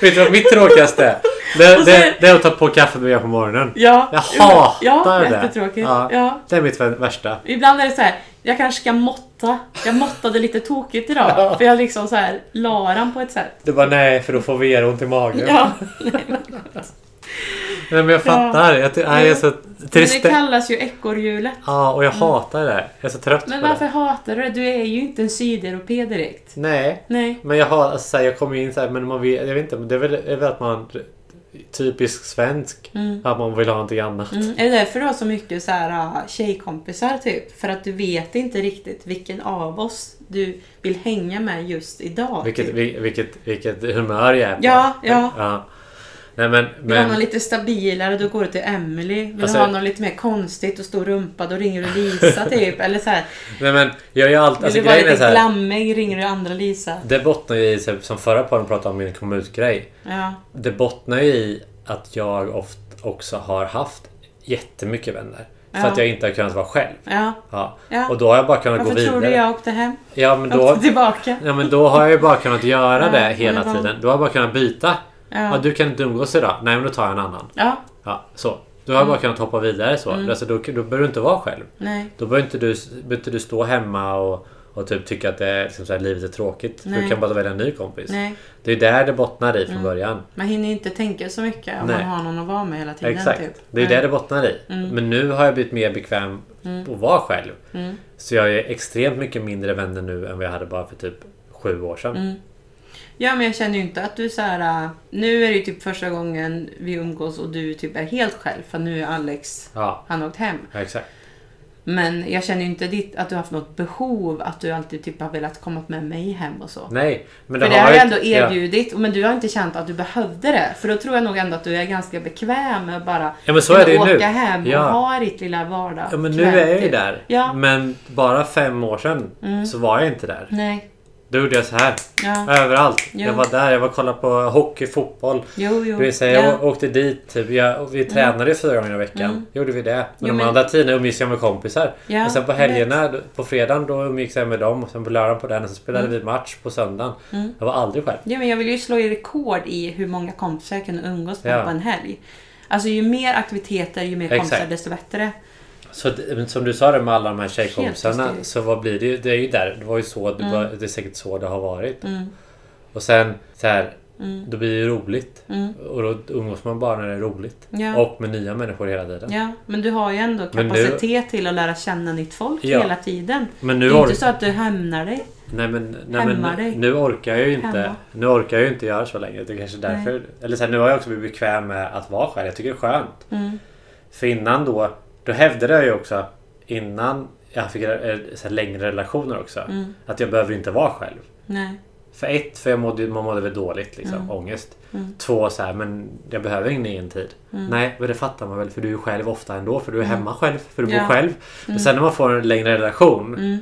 Speaker 1: Vet du vad mitt tråkigaste är? Det,
Speaker 2: Och så-
Speaker 1: det, det är att ta på kaffebryggaren på morgonen.
Speaker 2: Ja,
Speaker 1: Jag hatar
Speaker 2: ja,
Speaker 1: det.
Speaker 2: Jättetråkigt. Ja.
Speaker 1: Ja. Det är mitt värsta.
Speaker 2: Ibland är det så här, jag kanske ska måtta. Jag måttade lite tokigt idag.
Speaker 1: Ja.
Speaker 2: För jag liksom så här, la den på ett sätt.
Speaker 1: Du bara nej för då får vi er ont i magen.
Speaker 2: Ja.
Speaker 1: Nej, men jag fattar. Jag, ty- nej, jag är så
Speaker 2: Men det
Speaker 1: trist.
Speaker 2: kallas ju ekorrhjulet.
Speaker 1: Ja och jag hatar det. Jag är så trött
Speaker 2: Men
Speaker 1: på
Speaker 2: varför
Speaker 1: det.
Speaker 2: hatar du det? Du är ju inte en sydeuropé direkt.
Speaker 1: Nej.
Speaker 2: Nej.
Speaker 1: Men jag har, alltså, så här, jag kommer in så här, men man vet, jag vet inte. men Det är väl, det är väl att man typisk svensk. Att man vill ha någonting annat.
Speaker 2: Mm. Är det därför du har så mycket så här, ah, tjejkompisar typ? För att du vet inte riktigt vilken av oss du vill hänga med just idag.
Speaker 1: Vilket,
Speaker 2: typ.
Speaker 1: vil- vilket, vilket humör jag är på.
Speaker 2: Ja, ja.
Speaker 1: Nej men...
Speaker 2: Vill du ha
Speaker 1: men
Speaker 2: någon lite stabilare, då går du till Emily. Vill
Speaker 1: Alltså-
Speaker 2: du ha någon lite mer konstigt och stor rumpa, då ringer du Lisa typ. Eller så här.
Speaker 1: Nej men jag gör allt...
Speaker 2: Vill
Speaker 1: Alltså,
Speaker 2: du vara
Speaker 1: grejen är
Speaker 2: lite
Speaker 1: så här,
Speaker 2: glammig, ringer du andra Lisa.
Speaker 1: Det bottnar ju i, så här, som förra podden pratade om min kom ut-grej.
Speaker 2: Ja.
Speaker 1: Det bottnar ju i att jag ofta också har haft jättemycket vänner. För
Speaker 2: Ja.
Speaker 1: att jag inte har kunnat vara själv.
Speaker 2: ja.
Speaker 1: Ja.
Speaker 2: Ja.
Speaker 1: Och då har jag bara kunnat
Speaker 2: Varför
Speaker 1: gå
Speaker 2: tror
Speaker 1: vidare.
Speaker 2: du jag åkte hem?
Speaker 1: Ja men
Speaker 2: Jag
Speaker 1: då...
Speaker 2: åkte tillbaka.
Speaker 1: Ja men då har jag ju bara kunnat göra
Speaker 2: Ja,
Speaker 1: det hela
Speaker 2: det var-
Speaker 1: tiden. Då har jag bara kunnat byta.
Speaker 2: Ja.
Speaker 1: Ja, du kan inte umgås idag. Nej men då tar jag en annan.
Speaker 2: Ja.
Speaker 1: Ja, så. Då har jag
Speaker 2: Mm.
Speaker 1: bara kunnat hoppa vidare så. Alltså, då, då behöver du inte vara själv.
Speaker 2: Nej.
Speaker 1: Då behöver inte du, behöver inte du stå hemma och, och typ tycka att det, är liksom så här, livet är tråkigt. För
Speaker 2: Nej.
Speaker 1: Du kan bara välja en ny kompis.
Speaker 2: Nej. Mm.
Speaker 1: Det är där det bottnar i från början.
Speaker 2: Man hinner inte tänka så mycket om
Speaker 1: Nej.
Speaker 2: man har någon att vara med hela tiden.
Speaker 1: Exakt.
Speaker 2: Typ. Mm.
Speaker 1: Det är
Speaker 2: Nej.
Speaker 1: där det bottnar i. Men nu har jag blivit mer bekväm
Speaker 2: Mm.
Speaker 1: att vara själv. Så jag är extremt mycket mindre vänner nu än vad jag hade bara för typ sju år sedan.
Speaker 2: Mm. Ja men jag känner ju inte att du så här. äh, Nu är det ju typ första gången vi umgås och du typ är helt själv för nu är Alex,
Speaker 1: Ja,
Speaker 2: han har åkt hem.
Speaker 1: ja, exakt.
Speaker 2: Men jag känner ju inte ditt, att du har haft något behov att du alltid typ har velat komma med mig hem och så.
Speaker 1: Nej, men det
Speaker 2: För det
Speaker 1: har
Speaker 2: har jag
Speaker 1: ju-
Speaker 2: ändå
Speaker 1: ja.
Speaker 2: erbjudit, men du har inte känt att du behövde det. För då tror jag nog ändå att du är ganska bekväm med att bara
Speaker 1: Ja, men så är det ju
Speaker 2: åka
Speaker 1: nu.
Speaker 2: hem
Speaker 1: Ja.
Speaker 2: och ha ditt lilla vardag.
Speaker 1: Ja men nu är jag ju
Speaker 2: typ.
Speaker 1: där.
Speaker 2: Ja. Mm.
Speaker 1: Men bara fem år sedan så var jag inte där.
Speaker 2: Nej.
Speaker 1: Då gjorde jag så här.
Speaker 2: Ja.
Speaker 1: Överallt.
Speaker 2: Ja.
Speaker 1: Jag var där, jag var och kollade på hockey, fotboll.
Speaker 2: Jo, jo.
Speaker 1: Det vill säga, jag åkte dit. Typ. Jag, och vi tränade fyra gånger i veckan.
Speaker 2: Mm.
Speaker 1: Gjorde vi det. Men
Speaker 2: Jo,
Speaker 1: de
Speaker 2: men-
Speaker 1: andra tiderna umgicks jag med kompisar.
Speaker 2: Ja,
Speaker 1: och sen på
Speaker 2: jag
Speaker 1: helgerna, på fredagen, då umgicks jag med dem. Och sen på lördagen på den. Och sen spelade vi match på söndagen.
Speaker 2: Mm.
Speaker 1: Jag var aldrig själv.
Speaker 2: Ja, men jag vill ju slå i rekord i hur många kompisar jag kunde umgås med
Speaker 1: Ja.
Speaker 2: på en helg. Alltså ju mer aktiviteter, ju mer
Speaker 1: Exakt.
Speaker 2: kompisar desto bättre.
Speaker 1: Så att, men som du sa det med alla de här tjejkompisarna.
Speaker 2: hysteriskt.
Speaker 1: Så vad blir det ju? Det är ju där. Det var ju så.
Speaker 2: Mm.
Speaker 1: Det, var, det är säkert så det har varit. Och sen så här.
Speaker 2: Mm.
Speaker 1: Då blir det ju roligt. Och då umgås man bara när det är roligt.
Speaker 2: Ja.
Speaker 1: Och med nya människor hela tiden.
Speaker 2: Ja, men du har ju ändå
Speaker 1: Men nu-
Speaker 2: kapacitet till att lära känna nytt folk
Speaker 1: Ja.
Speaker 2: hela tiden.
Speaker 1: Men
Speaker 2: Det
Speaker 1: nu
Speaker 2: är
Speaker 1: har
Speaker 2: inte så att du hämnar dig.
Speaker 1: Nej men, nej,
Speaker 2: Hämmar dig.
Speaker 1: men nu orkar jag ju
Speaker 2: Hämma.
Speaker 1: inte. Nu orkar jag ju inte göra så länge. Det är kanske därför. Eller så här, nu har jag också blivit bekväm med att vara själv. Jag tycker det är skönt.
Speaker 2: Mm.
Speaker 1: För innan då, då hävdade jag ju också innan jag fick eh, så här, längre relationer också.
Speaker 2: Mm.
Speaker 1: Att jag behöver inte vara själv.
Speaker 2: Nej.
Speaker 1: För ett, för jag mådde, ju- man mådde väl dåligt liksom.
Speaker 2: Mm.
Speaker 1: Ångest.
Speaker 2: Mm.
Speaker 1: Två, så här, men jag behöver ingen egen tid.
Speaker 2: Mm.
Speaker 1: Nej, men det fattar man väl för du är ju själv ofta ändå. För du är hemma själv. För du bor
Speaker 2: Ja.
Speaker 1: själv. Men sen när man får en längre relation.
Speaker 2: Mm.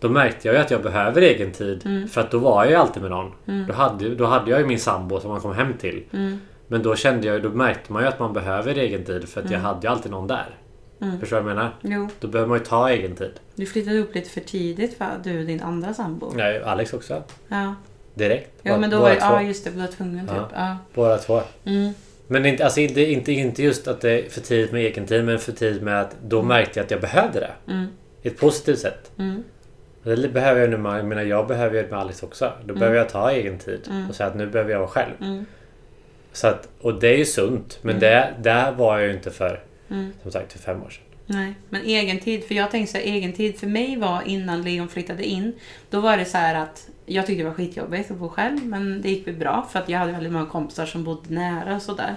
Speaker 1: Då märkte jag ju att jag behöver egen tid.
Speaker 2: Mm.
Speaker 1: För att då var jag ju alltid med någon.
Speaker 2: Mm.
Speaker 1: Då, hade, ju- då hade jag ju min sambo som man kom hem till.
Speaker 2: Mm.
Speaker 1: Men då kände jag ju- då märkte man ju att man behöver egen tid för att jag hade ju alltid någon där.
Speaker 2: Mm.
Speaker 1: Förstår du vad jag menar?
Speaker 2: Jo,
Speaker 1: Då behöver man ju ta egen tid.
Speaker 2: du flyttade upp lite för tidigt va? Du och din andra sambo.
Speaker 1: Nej, Alex också.
Speaker 2: Ja,
Speaker 1: Direkt.
Speaker 2: Mm. ja
Speaker 1: Bara-
Speaker 2: men då var
Speaker 1: båda,
Speaker 2: det, ja
Speaker 1: två.
Speaker 2: just det, du var tvungen typ.
Speaker 1: Ja.
Speaker 2: Ja.
Speaker 1: båda två.
Speaker 2: Mm.
Speaker 1: Men inte, alltså inte, inte, inte just att det är för tidigt med egen tid men för tidigt med att då märkte jag att jag behövde det.
Speaker 2: Mm.
Speaker 1: I ett positivt sätt.
Speaker 2: Mm.
Speaker 1: Och Det behöver jag nu med, jag menar jag behöver ju med Alex också. Då behöver jag ta egen tid och säga att nu behöver jag vara själv.
Speaker 2: Mm.
Speaker 1: Så att, och det är ju sunt. Men det, där var jag ju inte för,
Speaker 2: Mm.
Speaker 1: som sagt, för fem år sedan.
Speaker 2: Nej, men egen tid. För jag tänkte så här, egen tid för mig var innan Leon flyttade in. Då var det så här att jag tyckte det var skitjobbigt att bo själv, men det gick väl bra för att jag hade väldigt många kompisar som bodde nära och sådär.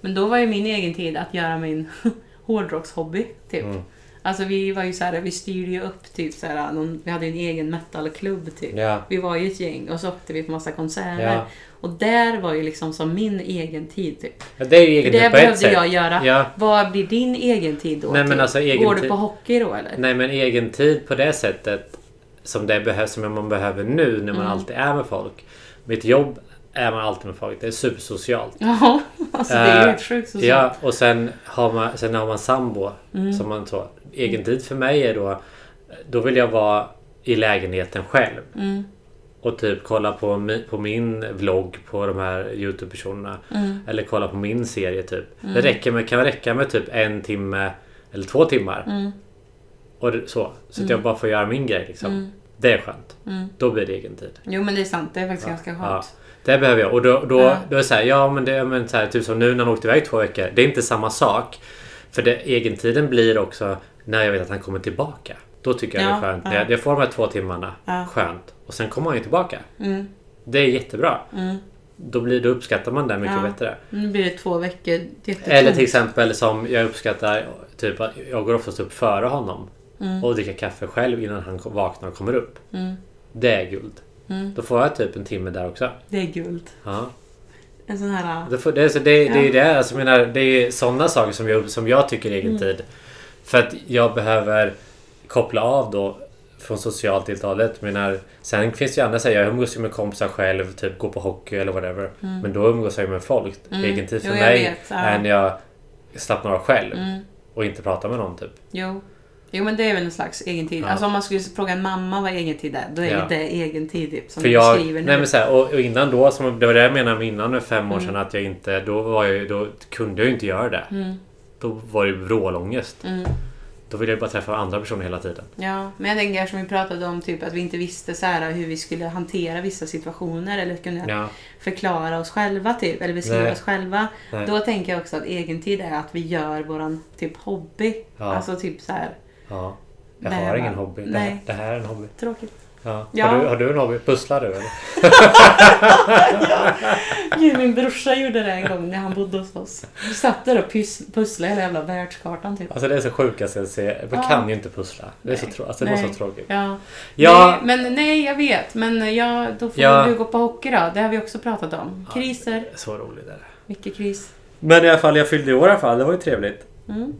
Speaker 2: Men då var ju min egen tid att göra min hårdrockshobby, typ.
Speaker 1: Mm.
Speaker 2: Alltså vi var ju så här, vi styrde ju upp typ så här, någon, vi hade ju en egen metalklubb typ.
Speaker 1: Ja.
Speaker 2: Vi var ju ett gäng och så åkte vi på massa konserter.
Speaker 1: Ja.
Speaker 2: Och där var ju liksom som min egen tid typ.
Speaker 1: Ja, Det är ju
Speaker 2: För
Speaker 1: egen
Speaker 2: det
Speaker 1: tid på ett
Speaker 2: behövde
Speaker 1: sätt.
Speaker 2: jag göra.
Speaker 1: Ja.
Speaker 2: Vad blir din egen tid då?
Speaker 1: Nej, men
Speaker 2: typ?
Speaker 1: alltså, egen
Speaker 2: Går du
Speaker 1: tid-
Speaker 2: på hockey då eller?
Speaker 1: Nej men egen tid på det sättet som, det behövs, som man behöver nu när man alltid är med folk. Mitt jobb är man alltid med folk. Det är supersocialt.
Speaker 2: Ja, alltså det är ju
Speaker 1: Eh,
Speaker 2: helt sjukt. så- Mm.
Speaker 1: Ja, och sen har man, sen har man sambo. Som man så. Egen tid för mig är då, då vill jag vara i lägenheten själv.
Speaker 2: Mm.
Speaker 1: Och typ kolla på, mi- på min vlogg på de här Youtube-personerna.
Speaker 2: Mm.
Speaker 1: Eller kolla på min serie typ. Det räcker med, kan räcka med typ en timme eller två timmar.
Speaker 2: Mm.
Speaker 1: Och det- så. Så att jag bara får göra min grej liksom.
Speaker 2: Mm.
Speaker 1: Det är skönt. Då blir det egen tid.
Speaker 2: Jo men det är sant, det är faktiskt ganska
Speaker 1: Ja,
Speaker 2: skönt.
Speaker 1: det behöver jag. Och då, då,
Speaker 2: Ja.
Speaker 1: då är det så här, ja men det är men så här, typ som nu när han åkte iväg två veckor. Det är inte samma sak. För det, egentiden blir också när jag vet att han kommer tillbaka. Då tycker jag
Speaker 2: Ja,
Speaker 1: det är skönt.
Speaker 2: ja.
Speaker 1: När Jag, jag får de här två timmarna.
Speaker 2: Ja.
Speaker 1: Skönt. Och sen kommer han ju tillbaka.
Speaker 2: Mm.
Speaker 1: Det är jättebra.
Speaker 2: Mm.
Speaker 1: Då, blir, då uppskattar man det mycket
Speaker 2: Ja.
Speaker 1: bättre.
Speaker 2: Nu blir det två veckor. jättetungt.
Speaker 1: Eller till exempel som jag uppskattar, typ att jag går oftast upp före honom. Och dricker kaffe själv innan han kom- vaknar och kommer upp.
Speaker 2: Mm.
Speaker 1: Det är guld.
Speaker 2: Mm.
Speaker 1: Då får jag typ en timme där också.
Speaker 2: Det är guld.
Speaker 1: Ja.
Speaker 2: En sån här...
Speaker 1: Det, får, det, är så det, det är ju det. Alltså, jag menar, det är sådana saker som jag, som jag tycker är egen
Speaker 2: Mm.
Speaker 1: tid. För att jag behöver koppla av då från socialt till talet. Jag Menar, sen finns det ju andra säger jag umgås ju med kompisar själv, typ gå på hockey eller whatever. Men då umgås jag ju med folk.
Speaker 2: Mm.
Speaker 1: Egen tid för
Speaker 2: Jo, jag
Speaker 1: mig
Speaker 2: vet, ja.
Speaker 1: är när jag slappnar av själv
Speaker 2: Mm.
Speaker 1: och inte pratar med någon typ.
Speaker 2: Jo. Jo men det är väl en slags egen tid.
Speaker 1: Ja.
Speaker 2: Alltså om man skulle fråga en mamma vad egen tid är, då är
Speaker 1: Ja.
Speaker 2: det egen tid typ, som
Speaker 1: För
Speaker 2: du
Speaker 1: jag,
Speaker 2: beskriver nu.
Speaker 1: nej men så här, och, och innan då, som, det var det jag menade med innan nu fem år sedan, att jag inte, då, var jag, ju- då kunde jag ju inte göra det.
Speaker 2: Mm.
Speaker 1: Då var det ju vrålångest.
Speaker 2: Mm.
Speaker 1: Då ville jag bara träffa andra personer hela tiden.
Speaker 2: Ja, men jag tänker som vi pratade om typ att vi inte visste så här, hur vi skulle hantera vissa situationer eller kunna
Speaker 1: Ja.
Speaker 2: förklara oss själva typ, eller beskriva
Speaker 1: Nej.
Speaker 2: oss själva.
Speaker 1: Nej.
Speaker 2: Då tänker jag också att egentid är att vi gör våran typ hobby.
Speaker 1: Ja.
Speaker 2: Alltså typ så här
Speaker 1: Ja. Jag
Speaker 2: Nej,
Speaker 1: har
Speaker 2: va?
Speaker 1: ingen hobby. Det
Speaker 2: Nej.
Speaker 1: här, det här är en hobby.
Speaker 2: tråkigt.
Speaker 1: Ja.
Speaker 2: Ja.
Speaker 1: Har, du, har du en hobby? Pusslar du eller?
Speaker 2: Gud, min brorsa gjorde det en gång när han bodde hos oss. Vi satt där och pys- pusslade hela jävla världskartan typ.
Speaker 1: Alltså det är så sjukaste jag ser. Man
Speaker 2: Ja.
Speaker 1: kan ju inte pussla. Det, är så
Speaker 2: Nej.
Speaker 1: trå- alltså, det var så
Speaker 2: Nej.
Speaker 1: tråkigt.
Speaker 2: Ja.
Speaker 1: Ja.
Speaker 2: Nej, men nej, jag vet. Men ja, då får
Speaker 1: Ja.
Speaker 2: du gå på hockey då. Det har vi också pratat om. Kriser.
Speaker 1: Så roligt är det.
Speaker 2: Mycket kris.
Speaker 1: Men i alla fall, jag fyllde i år i alla fall. Det var ju trevligt.
Speaker 2: Mm.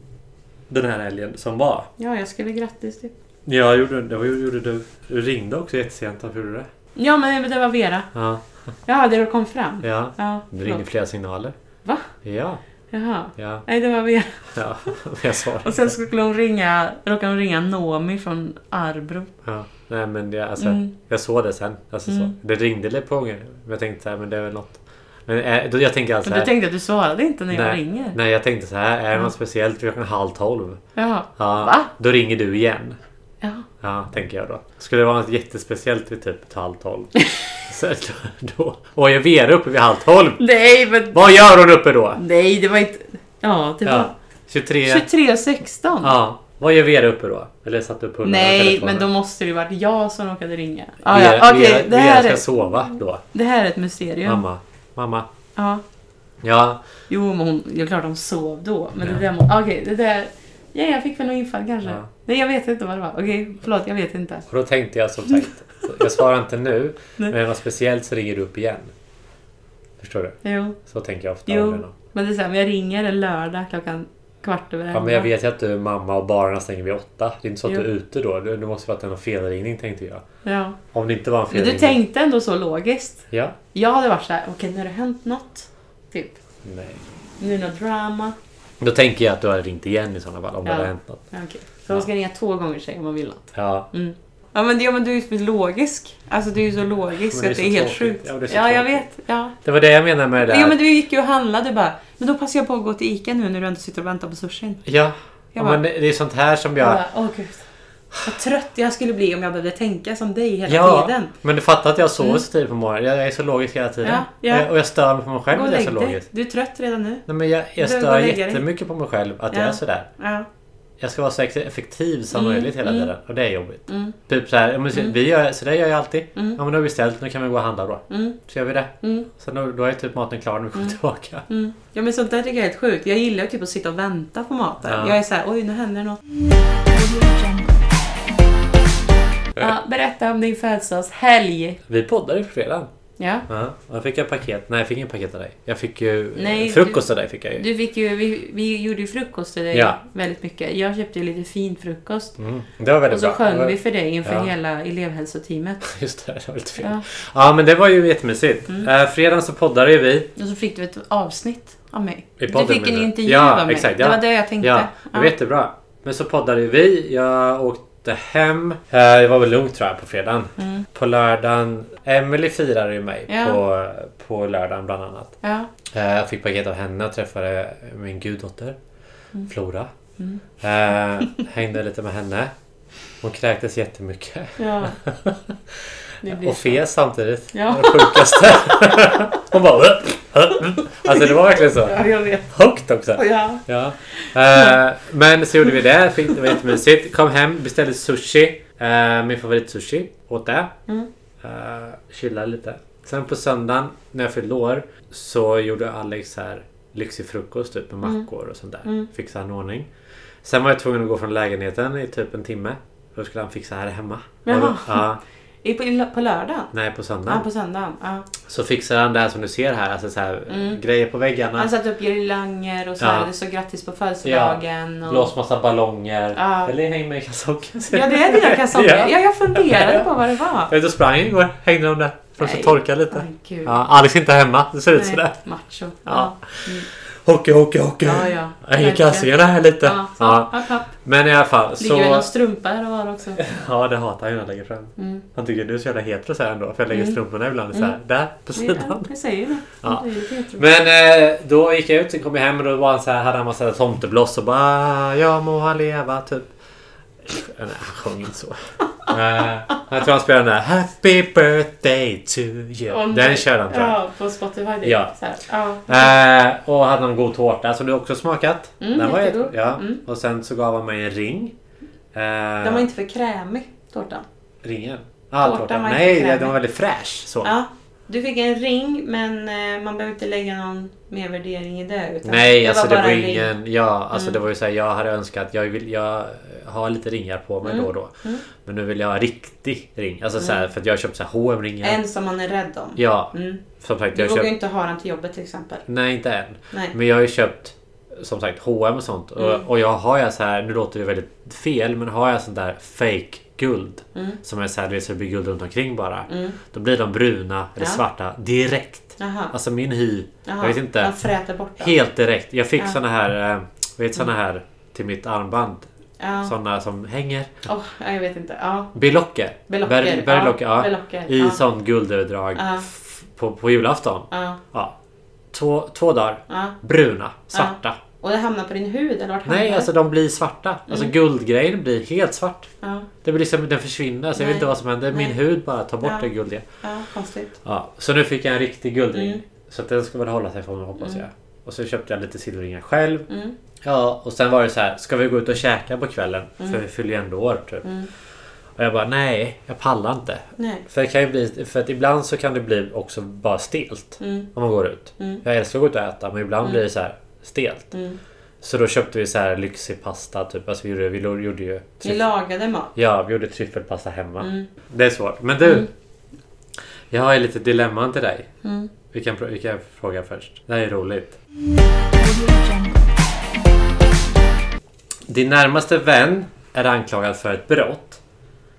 Speaker 1: Den här helgen som var.
Speaker 2: Ja, jag skrev grattis typ.
Speaker 1: Ja, gjorde, det var, gjorde du. Du ringde också jättesent. Varför gjorde du det?
Speaker 2: Ja, men det var Vera.
Speaker 1: Ja,
Speaker 2: Ja, det kom fram.
Speaker 1: ja.
Speaker 2: Ja,
Speaker 1: Det ringer
Speaker 2: förlåt.
Speaker 1: flera signaler.
Speaker 2: Va?
Speaker 1: Ja,
Speaker 2: Jaha.
Speaker 1: ja,
Speaker 2: Nej, det var Vera.
Speaker 1: ja. Men jag svarar
Speaker 2: Och sen
Speaker 1: inte.
Speaker 2: skulle hon ringa, råkade hon ringa Nomi från Arbro.
Speaker 1: Ja. Nej men jag, alltså,
Speaker 2: Mm.
Speaker 1: jag såg det sen. Alltså,
Speaker 2: Mm.
Speaker 1: så. Det ringde lite på gånger. Men jag tänkte så här, men det är väl något. Men eh, då, jag tänker alltså
Speaker 2: Men du
Speaker 1: här,
Speaker 2: tänkte att du svarade inte när jag
Speaker 1: Nej.
Speaker 2: ringer?
Speaker 1: Nej jag tänkte så här, är det något speciellt klockan halv tolv?
Speaker 2: Jaha.
Speaker 1: Ja,
Speaker 2: Va?
Speaker 1: Då ringer du igen.
Speaker 2: Ja.
Speaker 1: Ja, tänker jag då. Skulle det vara något jättespeciellt vid typ halv tolv? så då, då, och är Vera uppe vid halv tolv?
Speaker 2: Nej, men...
Speaker 1: Vad gör hon uppe då?
Speaker 2: Nej, det var inte... Ja, det
Speaker 1: Ja, 23.
Speaker 2: var 23.16.
Speaker 1: Ja. Vad gör Vera uppe då? Eller satt upp hundarna i
Speaker 2: Nej,
Speaker 1: telefonen?
Speaker 2: men då måste det ju varit jag som råkade ringa. Ah,
Speaker 1: Vera,
Speaker 2: ja, okej.
Speaker 1: Vera,
Speaker 2: det,
Speaker 1: Vera
Speaker 2: här
Speaker 1: ska
Speaker 2: är,
Speaker 1: sova då.
Speaker 2: det här är ett mysterium.
Speaker 1: Mamma. Mamma.
Speaker 2: Ja.
Speaker 1: Ja.
Speaker 2: Jo, men hon, det är klart hon sov då. Men
Speaker 1: Ja.
Speaker 2: det där... må- Okej, det där... Ja, jag fick väl något infall kanske.
Speaker 1: Ja.
Speaker 2: Nej, jag vet inte vad det var. Okej, förlåt, jag vet inte.
Speaker 1: Och då tänkte jag som sagt. så Jag svarar inte nu.
Speaker 2: Nej.
Speaker 1: men vad speciellt så ringer du upp igen. Förstår du?
Speaker 2: Jo,
Speaker 1: Så tänker jag ofta. om det
Speaker 2: jo.
Speaker 1: då.
Speaker 2: Men det är så här, om jag ringer en lördag klockan kvart över
Speaker 1: Ja, men jag vet ju att du är mamma och barerna stänger vid åtta. Det är inte så att
Speaker 2: Jo.
Speaker 1: du är ute då. Det det måste ju varit en felringning tänkte jag.
Speaker 2: Ja.
Speaker 1: Om det inte var en
Speaker 2: Men
Speaker 1: felringning.
Speaker 2: du tänkte ändå så logiskt.
Speaker 1: Ja.
Speaker 2: Jag hade varit så här, okej nu har det hänt något. Typ.
Speaker 1: Nej.
Speaker 2: Nu är det något drama.
Speaker 1: Då tänker jag att du hade ringt igen i sådana fall. Om
Speaker 2: Ja.
Speaker 1: det hade hänt något.
Speaker 2: Ja, okej. Så man ska ringa två gånger sig om man vill något.
Speaker 1: Ja.
Speaker 2: Ja men, ja, men du är ju så logisk. Alltså du är ju så
Speaker 1: Men
Speaker 2: logisk
Speaker 1: det är
Speaker 2: att
Speaker 1: så
Speaker 2: det är helt
Speaker 1: tråkigt.
Speaker 2: sjukt.
Speaker 1: Ja,
Speaker 2: Ja,
Speaker 1: det är så
Speaker 2: jag
Speaker 1: tråkigt.
Speaker 2: vet. Ja.
Speaker 1: Det var det jag menade med det där.
Speaker 2: Jo men du gick ju och handlade bara. Men då passar jag på att gå till Ica nu när du ändå sitter och väntar på sushin.
Speaker 1: Ja.
Speaker 2: Jag
Speaker 1: Ja,
Speaker 2: bara-
Speaker 1: men det det är sånt här som
Speaker 2: Jag
Speaker 1: jag...
Speaker 2: bara, Åh gud. Vad trött jag skulle bli om jag behövde tänka som dig hela
Speaker 1: Ja,
Speaker 2: tiden.
Speaker 1: men du fattar att jag sover så tidigt på morgonen. Jag jag är så logisk hela tiden.
Speaker 2: Mm. Ja, ja.
Speaker 1: Eh, Och jag stör mig på mig själv
Speaker 2: Gå och
Speaker 1: att jag är
Speaker 2: lägg
Speaker 1: så
Speaker 2: dig.
Speaker 1: logisk.
Speaker 2: Du är trött redan nu.
Speaker 1: Nej, men jag, jag
Speaker 2: Du, gå
Speaker 1: stör
Speaker 2: och lägg dig.
Speaker 1: jättemycket på mig själv att jag
Speaker 2: Ja.
Speaker 1: är sådär.
Speaker 2: Ja.
Speaker 1: Jag ska vara så effektiv som
Speaker 2: Mm,
Speaker 1: möjligt hela
Speaker 2: mm.
Speaker 1: tiden. Och det är jobbigt.
Speaker 2: Mm.
Speaker 1: Typ så här, ja, men så- vi gör, så det gör jag alltid.
Speaker 2: Mm.
Speaker 1: Ja men då har vi beställt, nu kan vi gå och handla då.
Speaker 2: Mm.
Speaker 1: Så gör vi det.
Speaker 2: Mm.
Speaker 1: Sen då, då är typ maten klar när vi kommer tillbaka.
Speaker 2: Mm. Ja men sånt där tycker jag är helt sjukt. Jag gillar ju typ att sitta och vänta på maten.
Speaker 1: Ja.
Speaker 2: Jag är såhär, oj nu händer något. Ja, berätta om din födelsedagshelg.
Speaker 1: Vi poddade ju på fredagen.
Speaker 2: Ja.
Speaker 1: Ja, och då fick jag paket. Nej jag fick inget paket av dig. Jag fick ju
Speaker 2: Nej,
Speaker 1: Nej, frukost av dig. Fick jag ju.
Speaker 2: Du fick ju, vi, vi gjorde ju frukost till dig
Speaker 1: Ja.
Speaker 2: väldigt mycket. Jag köpte ju lite fin frukost.
Speaker 1: Mm, det var väldigt
Speaker 2: Och så
Speaker 1: bra. Det
Speaker 2: sjöng
Speaker 1: var-
Speaker 2: vi för dig inför
Speaker 1: Ja.
Speaker 2: hela elevhälsoteamet.
Speaker 1: Just det, det var lite fel.
Speaker 2: Ja. Mm.
Speaker 1: Ja. men det var ju jättemysigt. Eh, fredagen så poddade ju vi.
Speaker 2: Och så fick du ett avsnitt av mig.
Speaker 1: I
Speaker 2: Du
Speaker 1: podden,
Speaker 2: fick en
Speaker 1: menar du?
Speaker 2: intervju
Speaker 1: Ja,
Speaker 2: av mig.
Speaker 1: exakt,
Speaker 2: Det
Speaker 1: ja.
Speaker 2: var det jag tänkte.
Speaker 1: Ja, det var jättebra. Men så poddade ju vi. Jag åkte hem. Eh, det var väl lugnt tror jag på fredagen.
Speaker 2: Mm.
Speaker 1: På lördagen. Emily firade ju mig
Speaker 2: Ja.
Speaker 1: på, på lördagen bland annat.
Speaker 2: ja.
Speaker 1: Eh, Jag fick paket av henne och träffade min guddotter
Speaker 2: Mm.
Speaker 1: Flora. Eh, hängde lite med henne. Hon kräktes jättemycket.
Speaker 2: ja. Det blir
Speaker 1: Och fes samtidigt.
Speaker 2: Ja.
Speaker 1: Det var Det sjukaste. Hon bara... "Hö, hö." Alltså det var verkligen så.
Speaker 2: Ja, jag vet.
Speaker 1: Högt också.
Speaker 2: Ja.
Speaker 1: Ja. Eh, men så gjorde vi det. Fick, det var jättemysigt. Kom hem, beställde sushi. Eh, min favoritsushi. Åt det.
Speaker 2: Mm.
Speaker 1: Eh, chillade lite. Sen på söndagen när jag fyllde år så gjorde Alex så här lyxig frukost typ med
Speaker 2: Mm.
Speaker 1: mackor och sånt där. Fixade han i ordning. Sen var jag tvungen att gå från lägenheten i typ en timme. För då skulle han fixa här hemma.
Speaker 2: Jaha.
Speaker 1: Och då- Ja,
Speaker 2: I- På, på lördagen?
Speaker 1: nej, på söndagen.
Speaker 2: Ja, på söndagen. Ja.
Speaker 1: Så fixade han det här som du ser här. Alltså så här
Speaker 2: Mm.
Speaker 1: grejer på väggarna.
Speaker 2: Han satte upp girlanger och så
Speaker 1: Ja.
Speaker 2: här, det stod grattis på födelsedagen. Och...
Speaker 1: Blås massa ballonger.
Speaker 2: Ja.
Speaker 1: Eller häng med i kalsonger.
Speaker 2: Ja, det är dina kalsonger.
Speaker 1: Ja.
Speaker 2: Ja, jag funderade på vad det var.
Speaker 1: Jag vet, då sprang jag igår. Hängde de där. För att
Speaker 2: Nej.
Speaker 1: torka lite.
Speaker 2: Aj, gud.
Speaker 1: Ja, Alex är inte hemma. Det ser ut
Speaker 2: Nej,
Speaker 1: sådär.
Speaker 2: Macho.
Speaker 1: Ja.
Speaker 2: Mm.
Speaker 1: Hockey, hockey, hockey.
Speaker 2: Ja, ja.
Speaker 1: Jag hänger i
Speaker 2: Verkligen.
Speaker 1: kalsingarna här lite.
Speaker 2: Ja, så.
Speaker 1: Ja.
Speaker 2: Hopp, hopp.
Speaker 1: Men i alla fall.
Speaker 2: Ligger det någon
Speaker 1: Så...
Speaker 2: strumpa här och var också?
Speaker 1: Ja, det hatar han ju när jag lägger fram.
Speaker 2: Mm.
Speaker 1: Han tycker du är så jävla hetero så här ändå. För jag lägger
Speaker 2: Mm.
Speaker 1: strumporna ibland så här. Där, på
Speaker 2: Ja,
Speaker 1: sidan.
Speaker 2: jag säger det.
Speaker 1: Ja.
Speaker 2: Det är ju helt roligt.
Speaker 1: Men eh, då gick jag ut, sen kom jag hem och då var han så här, hade han massa tomtebloss och bara Jag må han leva, typ. Nej, han sjöng inte så. Eh, jag tror han spelade den där Happy birthday to you.
Speaker 2: Om
Speaker 1: den
Speaker 2: det-
Speaker 1: körde han tror jag.
Speaker 2: Ja, på Spotify. Det är
Speaker 1: Ja.
Speaker 2: Så här. ja.
Speaker 1: Eh, och hade någon god tårta som du också smakat.
Speaker 2: Mm, jättegod.
Speaker 1: ja.
Speaker 2: Mm.
Speaker 1: Och sen så gav han mig en ring. Eh,
Speaker 2: Den var inte för krämig, tårtan.
Speaker 1: Ringen? Ah,
Speaker 2: Tårtan
Speaker 1: tårtan.
Speaker 2: var inte
Speaker 1: Nej,
Speaker 2: krämig.
Speaker 1: den var väldigt fräsch. Så.
Speaker 2: Ja. Du fick en ring, men eh, man behöver inte lägga någon mer värdering i det. Utan
Speaker 1: Nej, alltså det
Speaker 2: bara
Speaker 1: var
Speaker 2: en ring. Mm.
Speaker 1: ingen... Ja, alltså det var ju så här, jag hade önskat... Jag, vill, jag har lite ringar på
Speaker 2: Mm.
Speaker 1: mig då och då. Men nu vill jag ha en riktig ring. Alltså så här, för att jag har köpt så här H&M-ringar.
Speaker 2: En som man är rädd om.
Speaker 1: Ja,
Speaker 2: Mm.
Speaker 1: som sagt.
Speaker 2: Du
Speaker 1: Jag har
Speaker 2: vågar ju
Speaker 1: köpt...
Speaker 2: inte ha den till jobbet till exempel.
Speaker 1: Nej, inte än.
Speaker 2: Nej.
Speaker 1: Men jag har ju köpt som
Speaker 2: Mm.
Speaker 1: sagt H&M och sånt. Och, och jag har jag så här, nu låter det väldigt fel, men har jag sånt där fake guld.
Speaker 2: Mm.
Speaker 1: Som är såhär, du vet så det blir guld runt omkring bara.
Speaker 2: Mm.
Speaker 1: Då blir de bruna eller
Speaker 2: Ja.
Speaker 1: svarta direkt.
Speaker 2: Jaha.
Speaker 1: Alltså min hy,
Speaker 2: Jaha.
Speaker 1: jag vet inte.
Speaker 2: Man fräter bort dem.
Speaker 1: helt direkt. Jag fick
Speaker 2: Ja.
Speaker 1: såna här, eh, vet såna här till mitt armband.
Speaker 2: Ja.
Speaker 1: Såna som hänger.
Speaker 2: Åh, ja, jag vet inte. Ja.
Speaker 1: Berlocker.
Speaker 2: Berlocker.
Speaker 1: Ber- berlocker, ja.
Speaker 2: Berlocker.
Speaker 1: I
Speaker 2: ja.
Speaker 1: sån guldöverdrag
Speaker 2: Ja.
Speaker 1: f- på, på julafton.
Speaker 2: Ja.
Speaker 1: Ja. Två, två dagar.
Speaker 2: ja.
Speaker 1: Bruna, svarta.
Speaker 2: Och det hamnar på din hud eller vart hamnar
Speaker 1: Nej,
Speaker 2: det?
Speaker 1: alltså de blir svarta.
Speaker 2: Mm.
Speaker 1: Alltså guldgrejen blir helt svart.
Speaker 2: Ja,
Speaker 1: Det blir liksom, den försvinner. Alltså, jag vet
Speaker 2: Nej.
Speaker 1: inte vad som händer. Min
Speaker 2: Nej.
Speaker 1: hud bara tar bort
Speaker 2: Ja.
Speaker 1: det guldiga.
Speaker 2: ja konstigt.
Speaker 1: Ja, så nu fick jag en riktig guldring.
Speaker 2: Mm.
Speaker 1: Så att den ska väl hålla sig för mig hoppas jag. Och så köpte jag lite silverringar själv.
Speaker 2: Mm.
Speaker 1: Ja, och sen var det så här. Ska vi gå ut och käka på kvällen? För vi fyller ju ändå år typ.
Speaker 2: Mm.
Speaker 1: Och jag bara nej, jag pallar inte.
Speaker 2: Nej.
Speaker 1: För, det kan ju bli, för att ibland så kan det bli också bara stelt.
Speaker 2: Mm.
Speaker 1: Om man går ut.
Speaker 2: Mm.
Speaker 1: Jag älskar att gå ut och äta men ibland blir det så här stelt.
Speaker 2: Mm.
Speaker 1: Så då köpte vi så här lyxig pasta typ. Alltså vi gjorde, vi gjorde ju...
Speaker 2: Ni lagade mat.
Speaker 1: Ja, vi gjorde tryffelpasta hemma.
Speaker 2: Mm.
Speaker 1: Det är svårt. Men du! Jag har ju lite dilemman till dig.
Speaker 2: Mm.
Speaker 1: Vi kan, vi kan fråga först. Det här är roligt. Din närmaste vän är anklagad för ett brott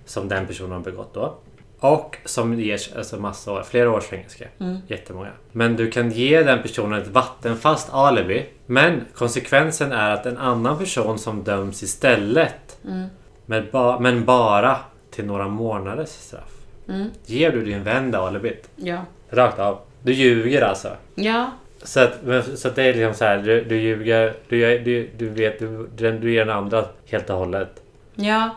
Speaker 1: som den personen har begått då. Och som ger alltså massa år, flera års fängelse. Jättemånga. Men du kan ge den personen ett vattenfast alibi. Men konsekvensen är att en annan person som döms istället. Med ba, men bara till några månaders straff.
Speaker 2: Mm.
Speaker 1: Ger du din vän det alibit?
Speaker 2: Ja.
Speaker 1: Rakt av. Du ljuger alltså.
Speaker 2: Ja.
Speaker 1: Så att, men, så att det är liksom så här, du, du ljuger, du, gör- du, du vet, du, den- du ger den andra helt och hållet.
Speaker 2: Ja.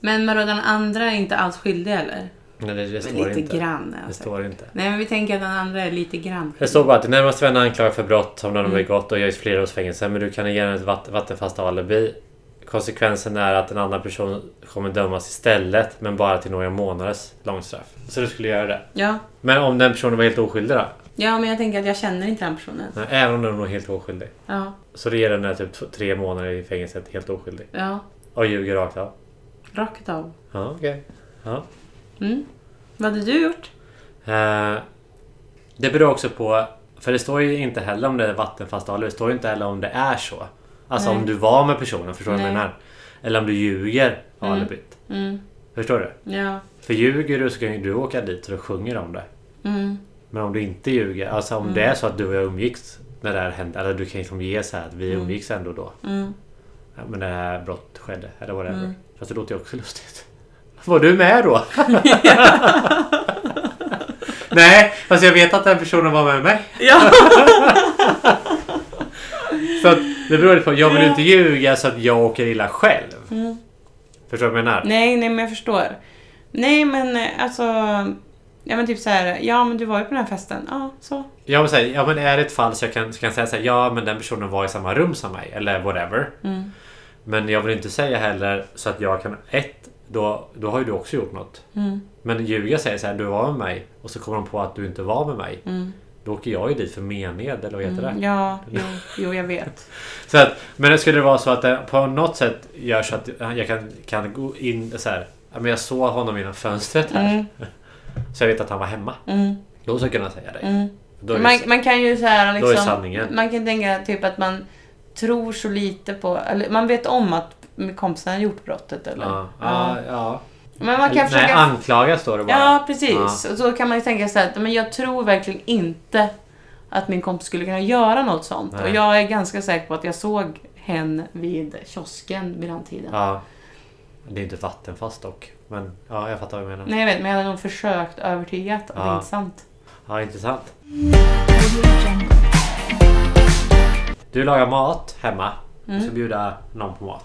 Speaker 2: Men vadå, den andra är inte alls skyldig eller?
Speaker 1: Men det, det
Speaker 2: Men
Speaker 1: står
Speaker 2: lite
Speaker 1: inte.
Speaker 2: grann.
Speaker 1: Det
Speaker 2: Alltså.
Speaker 1: står inte.
Speaker 2: Nej, men vi tänker att den andra är lite grann.
Speaker 1: Det står bara att din närmaste vän anklagar för brott som den
Speaker 2: Mm.
Speaker 1: har begått och ges flera års fängelse men du kan ge den ett vatt, vattenfast alibi. Konsekvensen är att en annan person kommer dömas istället men bara till några månaders långstraff. Så du skulle göra det.
Speaker 2: Ja.
Speaker 1: Men om den personen var helt oskyldig då?
Speaker 2: ja, men jag tänker att jag känner inte den personen.
Speaker 1: Nej, Även om den var helt oskyldig.
Speaker 2: Ja.
Speaker 1: Så du ger den där typ t- tre månader i fängelset helt oskyldig.
Speaker 2: Ja.
Speaker 1: Och ljuger rakt av.
Speaker 2: Rakt av.
Speaker 1: Ja, okej. Ja.
Speaker 2: Mm. Vad hade du gjort?
Speaker 1: Eh, det beror också på... För det står ju inte heller om det är vattenfast alibi. Det står ju inte heller om det är så. Alltså
Speaker 2: Nej.
Speaker 1: om du var med personen, förstår du vad jag
Speaker 2: Nej.
Speaker 1: menar? Eller om du ljuger alibit.
Speaker 2: Mm.
Speaker 1: Förstår du?
Speaker 2: Ja.
Speaker 1: För ljuger du så kan ju du åka dit och du sjunger om det.
Speaker 2: Mm.
Speaker 1: Men om du inte ljuger, alltså om det är så att du och jag umgicks när det här hände. Eller du kan ju liksom ge så här att vi umgicks ändå då.
Speaker 2: Mm.
Speaker 1: Ja, men det här brott skedde, eller whatever. Fast det låter ju också lustigt. Var du med då? Nej, fast jag vet att den personen var med mig.
Speaker 2: Ja.
Speaker 1: Så att det beror på. Jag vill ju inte ljuga så att jag åker illa själv. Förstår du vad jag menar?
Speaker 2: Nej, nej men jag förstår. Nej men eh, alltså. Ja men typ så här. Ja men du var ju på den här festen. Ja, så.
Speaker 1: Jag vill säga, ja men är det ett fall så jag kan, så kan jag säga så här, ja men den personen var i samma rum som mig. Eller whatever.
Speaker 2: Mm.
Speaker 1: Men jag vill inte säga heller så att jag kan... Ett, då, då har ju du också gjort något.
Speaker 2: Mm.
Speaker 1: Men ljuga säger så här, du var med mig. Och så kommer de på att du inte var med mig.
Speaker 2: Mm.
Speaker 1: Då åker jag ju dit för mened, eller vad heter det?
Speaker 2: Mm. Ja, jo, jo jag vet.
Speaker 1: Så att, men det skulle det vara så att det på något sätt gör så att jag kan, kan gå in så här. ja, Men jag såg honom genom fönstret här.
Speaker 2: Mm.
Speaker 1: Så jag vet att han var hemma.
Speaker 2: Mm.
Speaker 1: Då ska jag kunna säga det.
Speaker 2: Mm.
Speaker 1: Då är
Speaker 2: man,
Speaker 1: det
Speaker 2: man kan ju så här
Speaker 1: då är
Speaker 2: liksom,
Speaker 1: sanningen.
Speaker 2: Man kan tänka typ att man tror så lite på, eller man vet om att kompisen har gjort brottet eller?
Speaker 1: ja, ja, ja.
Speaker 2: Men man kan
Speaker 1: Nej,
Speaker 2: försöka...
Speaker 1: anklaga står det bara.
Speaker 2: ja, precis. Och då kan man ju tänka så här att men jag tror verkligen inte att min kompis skulle kunna göra något sånt.
Speaker 1: Nej.
Speaker 2: Och jag är ganska säker på att jag såg hen vid kiosken vid den tiden.
Speaker 1: Ja. Det är inte vattenfast dock. Men ja, jag fattar vad du menar.
Speaker 2: Nej, jag vet, men jag hade nog försökt övertyga att det
Speaker 1: Ja.
Speaker 2: är inte sant.
Speaker 1: Ja, intressant.
Speaker 2: Mm.
Speaker 1: Du lagar mat hemma. Du
Speaker 2: Mm.
Speaker 1: ska bjuda någon på mat.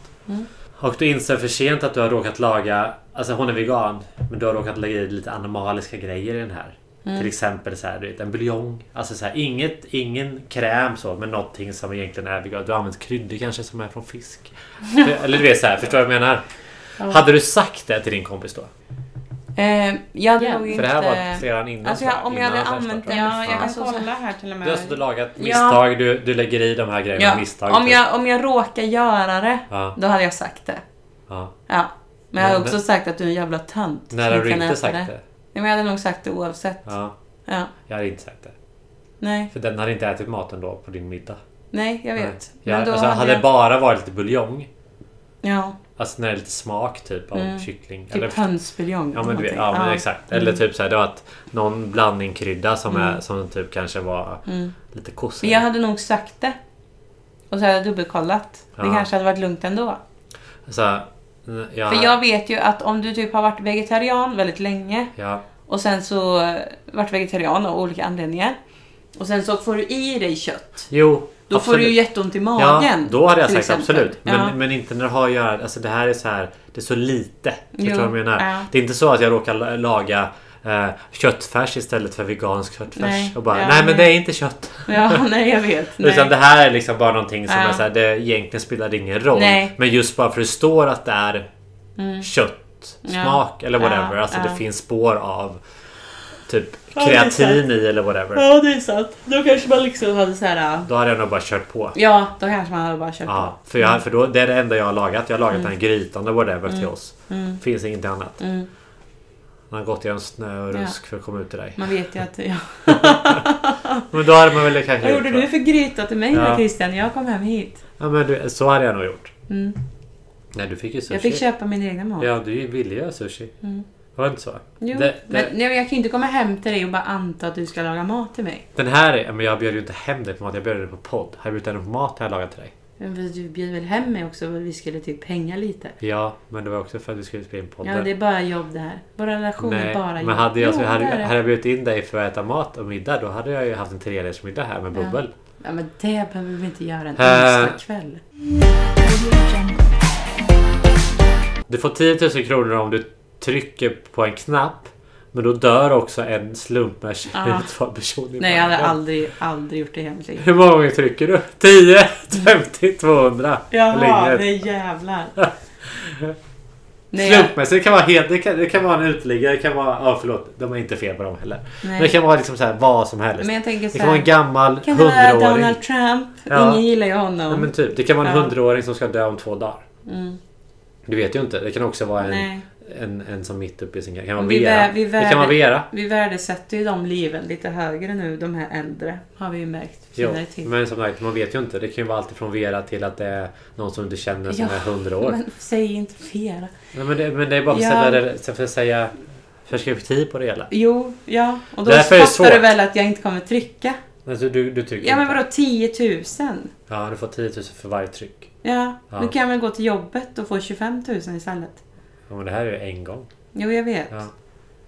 Speaker 1: Och du inser för sent att du har råkat laga... Alltså hon är vegan. Men du har råkat lägga i lite animaliska grejer i den här.
Speaker 2: Mm.
Speaker 1: Till exempel så här, du vet, en buljong. Alltså så här, inget, ingen kräm så, men någonting som egentligen är vegan. Du har använt kryddor kanske som är från fisk. Eller du vet så här, förstår du vad jag menar? Hade du sagt det till din kompis då?
Speaker 2: Eh, jag hade nog
Speaker 1: För
Speaker 2: inte...
Speaker 1: det här var flera innan.
Speaker 2: Alltså
Speaker 1: tror
Speaker 2: jag, om jag
Speaker 1: Innan
Speaker 2: hade
Speaker 1: affärsstart,
Speaker 2: använt
Speaker 1: tror
Speaker 2: den...
Speaker 1: jag.
Speaker 2: Ja, jag
Speaker 1: Ja.
Speaker 2: kan kolla här till och med.
Speaker 1: Du har suttit och lagat
Speaker 2: Ja.
Speaker 1: misstag. Du, du lägger i de här grejerna av misstag.
Speaker 2: Om,
Speaker 1: typ.
Speaker 2: jag, om jag råkar göra det,
Speaker 1: Ja.
Speaker 2: då hade jag sagt det.
Speaker 1: Ja.
Speaker 2: Ja. Men jag hade
Speaker 1: Men-
Speaker 2: också sagt att du är en jävla tönt.
Speaker 1: När
Speaker 2: som
Speaker 1: har du
Speaker 2: kan
Speaker 1: inte
Speaker 2: äta
Speaker 1: sagt det?
Speaker 2: Nej, men jag hade nog sagt det oavsett. Ja.
Speaker 1: Ja, jag hade inte sagt det.
Speaker 2: Nej,
Speaker 1: För den hade inte ätit maten då på din middag.
Speaker 2: nej, jag vet.
Speaker 1: Jag,
Speaker 2: då
Speaker 1: alltså, hade det
Speaker 2: jag-
Speaker 1: bara varit lite buljong.
Speaker 2: Ja.
Speaker 1: Alltså när det är lite smak typ av
Speaker 2: Mm.
Speaker 1: kyckling.
Speaker 2: Typ hönsbuljong.
Speaker 1: Ja men, du vet, ja, men exakt. Eller typ så här, det var att någon blandning krydda som, är, som typ kanske var
Speaker 2: Mm.
Speaker 1: lite kossa.
Speaker 2: Men jag hade nog sagt det. Och så hade jag dubbelkollat. Det
Speaker 1: Ja.
Speaker 2: kanske hade varit lugnt ändå.
Speaker 1: Så här, n- ja,
Speaker 2: För jag vet ju att om du typ har varit vegetarian väldigt länge
Speaker 1: ja,
Speaker 2: och sen så eh, varit vegetarian av olika anledningar och sen så får du i dig kött.
Speaker 1: jo,
Speaker 2: Då får du ju jätteont i magen.
Speaker 1: Ja, då hade jag
Speaker 2: till
Speaker 1: sagt
Speaker 2: exempel.
Speaker 1: absolut. Men,
Speaker 2: ja.
Speaker 1: men inte när det har att göra... Alltså det här är så här... Det är så lite. Förstår
Speaker 2: Jo,
Speaker 1: du vad jag menar?
Speaker 2: ja.
Speaker 1: Det är inte så att jag råkar la- laga eh, köttfärs istället för vegansk köttfärs.
Speaker 2: Nej,
Speaker 1: och bara,
Speaker 2: ja,
Speaker 1: nej men
Speaker 2: nej.
Speaker 1: det är inte kött.
Speaker 2: ja, nej jag vet. Nej.
Speaker 1: Utan det här är liksom bara någonting som
Speaker 2: Ja.
Speaker 1: är så här, det egentligen spelar ingen roll.
Speaker 2: Nej. Mm.
Speaker 1: Men just bara för det står att det är kött, smak eller whatever.
Speaker 2: Ja,
Speaker 1: Alltså
Speaker 2: ja.
Speaker 1: det finns spår av typ
Speaker 2: Ja, det är
Speaker 1: kreatin i eller whatever.
Speaker 2: Ja, det är sant. Då kanske man liksom hade så här. äh,
Speaker 1: Då hade jag nog bara kört på.
Speaker 2: Ja, då kanske man hade bara kört
Speaker 1: Ja, för, jag, för då, det är det enda jag har lagat. Jag har
Speaker 2: Mm.
Speaker 1: lagat den här grytan och whatever till oss. Finns inget annat.
Speaker 2: på. Mm.
Speaker 1: Man har gått i en snö och
Speaker 2: Ja.
Speaker 1: rusk för att komma ut till dig.
Speaker 2: Man vet ju att... Ja.
Speaker 1: Men då hade man väl kanske
Speaker 2: Vad gjorde
Speaker 1: gjort
Speaker 2: du
Speaker 1: så.
Speaker 2: för gryta till mig
Speaker 1: Ja.
Speaker 2: då Christian? Jag kom hem hit.
Speaker 1: Ja, men du, så hade jag nog gjort.
Speaker 2: Mm.
Speaker 1: Nej, du fick ju sushi.
Speaker 2: Jag fick köpa min egna mat. Mm.
Speaker 1: Ja, du ville ju ha sushi. Var det inte så?
Speaker 2: Jo,
Speaker 1: Det- det-
Speaker 2: Men, nej, men jag kan ju inte komma hem till dig och bara anta att du ska laga mat till mig.
Speaker 1: Den här är... Men jag bjöd ju inte hem dig på mat. Jag bjöd dig på podd. Har jag bjudit dig på mat har jag lagat till dig.
Speaker 2: Men för Du bjöd väl hem mig också för att vi skulle typ hänga lite?
Speaker 1: Ja, men det var också för att vi skulle spela in podden.
Speaker 2: Ja, det är bara jobb det här. Våra relationer är
Speaker 1: Nej,
Speaker 2: bara jobb.
Speaker 1: men hade jag,
Speaker 2: Jo,
Speaker 1: så hade,
Speaker 2: det är det.
Speaker 1: hade jag bjudit in dig för att äta mat och middag då hade jag ju haft en tredersmiddag här med
Speaker 2: Ja.
Speaker 1: bubbel.
Speaker 2: Ja, men det behöver vi inte göra en
Speaker 1: Eh.
Speaker 2: onsdag kväll.
Speaker 1: Du får 10 000 kronor om du trycker på en knapp. Men då dör också en slumpmässigt
Speaker 2: Ah.
Speaker 1: utvald person i
Speaker 2: Nej, jag hade
Speaker 1: världen.
Speaker 2: aldrig, aldrig gjort det i hela mitt liv.
Speaker 1: Hur många gånger trycker du? 10, 50, 200?
Speaker 2: Jaha,
Speaker 1: Eller
Speaker 2: det
Speaker 1: inget.
Speaker 2: är jävlar. Nej, jag,
Speaker 1: Slumpmässigt det kan vara helt... Det kan, det kan vara en uteliggare, det kan vara... Ja, förlåt. De är inte fel på dem heller. Men det
Speaker 2: nej.
Speaker 1: kan vara liksom så här, vad som helst.
Speaker 2: Men jag tänker
Speaker 1: det
Speaker 2: så
Speaker 1: kan vara en
Speaker 2: här.
Speaker 1: gammal
Speaker 2: Kan det vara
Speaker 1: hundraåring.
Speaker 2: Donald Trump?
Speaker 1: Ja.
Speaker 2: Ingen gillar ju
Speaker 1: Ja,
Speaker 2: honom.
Speaker 1: men typ. Det kan vara en
Speaker 2: Ja.
Speaker 1: hundraåring som ska dö om två dagar.
Speaker 2: Mm.
Speaker 1: Du vet ju inte. Det kan också vara en,
Speaker 2: Nej.
Speaker 1: en, en som mitt uppe i sin... Det kan vara
Speaker 2: Vi
Speaker 1: Vera.
Speaker 2: vä- vi
Speaker 1: det kan vara
Speaker 2: värde-
Speaker 1: Vera.
Speaker 2: Vi värdesätter ju de liven lite högre nu, de här äldre. Har vi ju märkt.
Speaker 1: Jo,
Speaker 2: senare tid.
Speaker 1: men som sagt, man vet ju inte. Det kan ju vara allt från Vera till att det är någon som du känner som
Speaker 2: Ja,
Speaker 1: är 100 år. Men...
Speaker 2: Men säg inte fel.
Speaker 1: Nej, men, det, men det är bara för
Speaker 2: Ja.
Speaker 1: att, sätta, det- för att säga perspektiv på det hela.
Speaker 2: Jo, ja. Och då
Speaker 1: Därför är det
Speaker 2: fattar du
Speaker 1: svårt.
Speaker 2: väl att jag inte kommer trycka?
Speaker 1: Alltså, du, du trycker
Speaker 2: Ja, men
Speaker 1: inte.
Speaker 2: vadå 10 000?
Speaker 1: Ja, du får 10 000 för varje tryck.
Speaker 2: Ja,
Speaker 1: Ja.
Speaker 2: då kan jag väl gå till jobbet och få 25 000 istället.
Speaker 1: Ja, men det här är ju en gång.
Speaker 2: Jo, jag vet.
Speaker 1: Ja.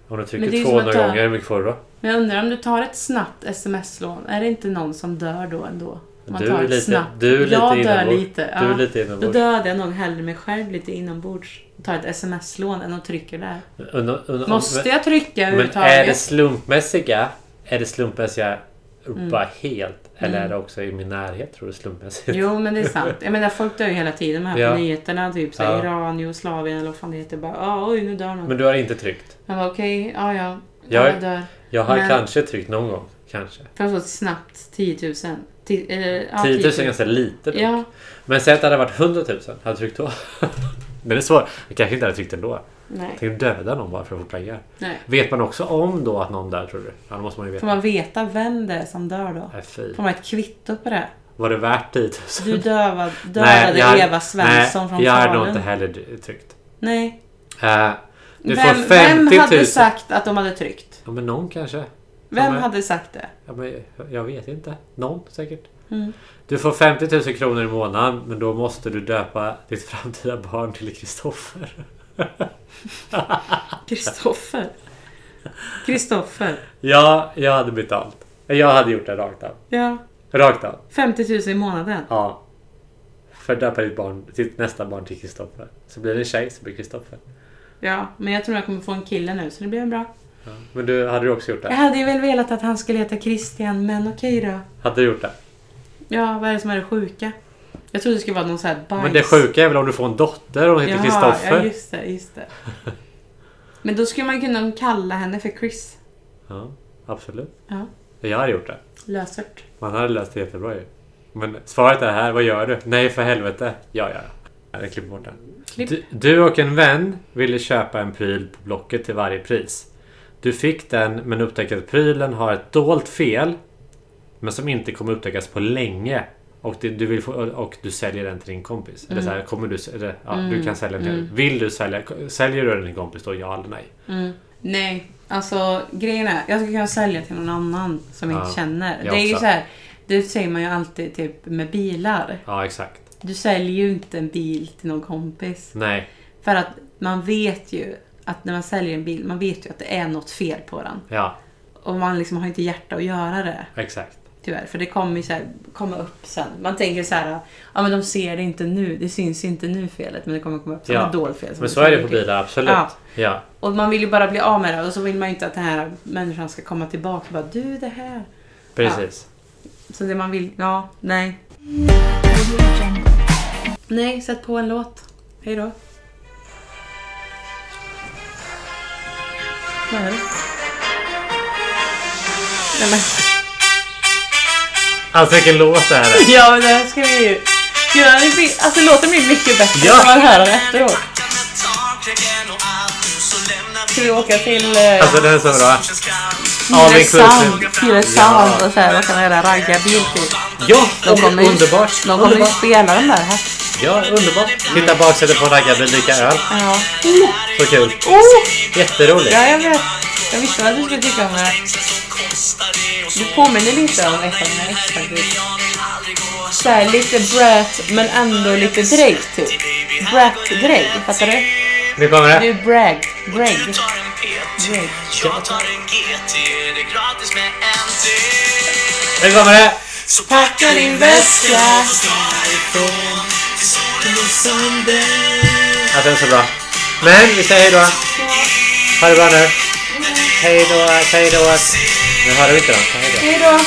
Speaker 1: Om du
Speaker 2: Men det är
Speaker 1: trycker
Speaker 2: ju som
Speaker 1: 200
Speaker 2: att ta-
Speaker 1: gånger, hur mycket får du då?
Speaker 2: Men jag undrar om du tar ett snabbt sms-lån, är det inte någon som dör då ändå? Om man
Speaker 1: Du
Speaker 2: tar
Speaker 1: är
Speaker 2: ett
Speaker 1: lite,
Speaker 2: snabbt-
Speaker 1: du är lite
Speaker 2: Jag dör
Speaker 1: inombords.
Speaker 2: lite.
Speaker 1: Du
Speaker 2: ja.
Speaker 1: är lite
Speaker 2: Då
Speaker 1: inombords.
Speaker 2: dödar jag nog hellre mig själv lite inombords. Och tar ett sms-lån än att trycka där.
Speaker 1: Undra- undra-
Speaker 2: Måste jag trycka
Speaker 1: men, men är det
Speaker 2: överhuvudtaget?
Speaker 1: slumpmässiga? Är det slumpmässiga bara helt? Eller är det också i min närhet, tror du, slumpmässigt?
Speaker 2: Mm. Jo, men det är sant. Jag menar, folk dör ju hela tiden. Man hör
Speaker 1: Ja.
Speaker 2: på nyheterna, typ så här,
Speaker 1: Ja.
Speaker 2: Iran, Jugoslavien eller vad fan det heter. Bara, "Ah, oj, nu dör någon.
Speaker 1: Men du har inte tryckt?
Speaker 2: Man bara, okej, ja, ja.
Speaker 1: Jag-
Speaker 2: Jag, jag dör.
Speaker 1: Jag har
Speaker 2: Men-
Speaker 1: kanske tryckt någon gång. Kanske.
Speaker 2: För att få ett snabbt 10 000. Ti- eller, ja, typ.
Speaker 1: 10 000 är ganska lite. dock.
Speaker 2: Ja,
Speaker 1: Men säg att det hade varit 100 000. Hade jag tryckt då? Den är svår. Jag kanske inte hade tryckt ändå.
Speaker 2: nej.
Speaker 1: Tänk döda någon bara för att få pengar.
Speaker 2: nej.
Speaker 1: Vet man också om då att någon där tror du? Ja, då måste man ju
Speaker 2: Får
Speaker 1: veta.
Speaker 2: man veta vem det är som dör då?
Speaker 1: Nej, fy.
Speaker 2: Får man ett kvitto på det?
Speaker 1: Var det värt 10 000?
Speaker 2: Du dövad, dödade
Speaker 1: Nej, jag-
Speaker 2: Eva Svensson
Speaker 1: nej,
Speaker 2: från
Speaker 1: jag hade nog
Speaker 2: Falun.
Speaker 1: inte heller tryckt.
Speaker 2: Nej.
Speaker 1: Eh, du
Speaker 2: Vem,
Speaker 1: får 50 000.
Speaker 2: vem hade sagt att de hade tryckt?
Speaker 1: Ja, men någon kanske.
Speaker 2: Vem
Speaker 1: är-
Speaker 2: hade sagt det?
Speaker 1: Ja, men jag- jag vet inte. Någon säkert.
Speaker 2: Mm.
Speaker 1: Du får 50 000 kronor i månaden men då måste du döpa ditt framtida barn till Kristoffer.
Speaker 2: Kristoffer. Kristoffer.
Speaker 1: Ja, jag hade blivit allt. Jag hade gjort det rakt av.
Speaker 2: Ja.
Speaker 1: Rakt av.
Speaker 2: 50 000 i månaden.
Speaker 1: Ja. För att döpa ditt, barn, ditt nästa barn till Kristoffer. Så blir det en tjej så blir det Kristoffer.
Speaker 2: Ja, men jag tror jag kommer få en kille nu så det blir bra.
Speaker 1: Ja. Men du, hade du också gjort
Speaker 2: Jag
Speaker 1: det?
Speaker 2: hade ju väl velat att han skulle heta Christian, men okej då.
Speaker 1: Hade du gjort det?
Speaker 2: Ja, vad är det som är det sjuka? Jag trodde det skulle vara någon sån här bajs.
Speaker 1: Men det sjuka är väl om du får en dotter och hon heter
Speaker 2: Jaha,
Speaker 1: Kristoffer?
Speaker 2: Ja, just det, just det. Men då skulle man kunna kalla henne för Chris.
Speaker 1: Ja, absolut.
Speaker 2: Ja,
Speaker 1: Jag hade gjort det.
Speaker 2: lösört.
Speaker 1: Man hade löst det jättebra ju. Men svaret är här, vad gör du? Nej för helvete. Ja, ja, ja. Jag klipper bort det.
Speaker 2: Klipp.
Speaker 1: Du, du och en vän ville köpa en pryl på Blocket till varje pris. Du fick den men upptäckte att prylen har ett dolt fel men som inte kommer upptäckas på länge Och, det, du vill få, och du säljer den till din kompis. Eller så här, kommer du, sä- eller, ja, du
Speaker 2: Mm,
Speaker 1: kan sälja den till
Speaker 2: mm.
Speaker 1: Vill du sälja? Säljer du den till din kompis då? Ja eller nej?
Speaker 2: Mm. Nej, alltså grejen är, jag skulle kunna sälja till någon annan som jag
Speaker 1: Ja,
Speaker 2: inte känner. Det
Speaker 1: jag
Speaker 2: är ju
Speaker 1: också.
Speaker 2: så här, det säger man ju alltid typ med bilar.
Speaker 1: Ja exakt.
Speaker 2: Du säljer ju inte en bil till någon kompis.
Speaker 1: Nej.
Speaker 2: För att man vet ju att när man säljer en bil, man vet ju att det är något fel på den.
Speaker 1: Ja
Speaker 2: Och man liksom har inte hjärta att göra det.
Speaker 1: exakt.
Speaker 2: Tyvärr, för det kommer ju så här, komma upp sen. Man tänker så här, ja men de ser det inte nu, det syns inte nu felet, men det kommer komma upp som
Speaker 1: Ja,
Speaker 2: ett dolt fel. som
Speaker 1: Men
Speaker 2: de
Speaker 1: så är det
Speaker 2: säger
Speaker 1: på
Speaker 2: till.
Speaker 1: bilar absolut.
Speaker 2: Ja.
Speaker 1: Ja.
Speaker 2: Och man vill ju bara bli av med det och så vill man ju inte att den här människan ska komma tillbaka och bara du det här.
Speaker 1: precis.
Speaker 2: Så det man vill, ja, nej. Nej, sätt på en låt. Hej då. Vad är det? Nej, men.
Speaker 1: Alltså vilken låt det här är.
Speaker 2: Ja men det här ska vi ju göra. Det blir- Alltså låten blir mycket bättre
Speaker 1: Ja.
Speaker 2: när man hör den efteråt. Ska vi åka till eh,
Speaker 1: Alltså den är så bra. all
Speaker 2: Tylösand
Speaker 1: inclusive.
Speaker 2: Tylösand och så här, vad kan jag göra? Raggarbil typ.
Speaker 1: Ja!
Speaker 2: De kommer ju-
Speaker 1: underbart!
Speaker 2: De kommer ju
Speaker 1: underbart.
Speaker 2: spela den där här.
Speaker 1: Ja, underbart! Titta baksätet på en raggarbil, dricka öl.
Speaker 2: Ja.
Speaker 1: Så kul!
Speaker 2: Oh!
Speaker 1: Jätteroligt!
Speaker 2: Ja, jag vet. Jag visste att du skulle tycka om det. här. Du påminner lite om ett av mina ex faktiskt. Såhär lite brat men ändå lite Drake typ. Brat Drake, fattar du?
Speaker 1: Nu kommer
Speaker 2: Du
Speaker 1: det!
Speaker 2: är brag. Drag.
Speaker 3: tar en PT,
Speaker 2: Drag.
Speaker 3: jag tar en GT, det är gratis med en till.
Speaker 1: Nu kommer det!
Speaker 3: Så packa din väska och dra härifrån till solen och sanden.
Speaker 1: Alltså den är så bra. Men vi säger hejdå! Ha det bra nu! Hejdå, hejdå! Nu hörde vi inte dem. så Hejdå!
Speaker 2: Hejdå!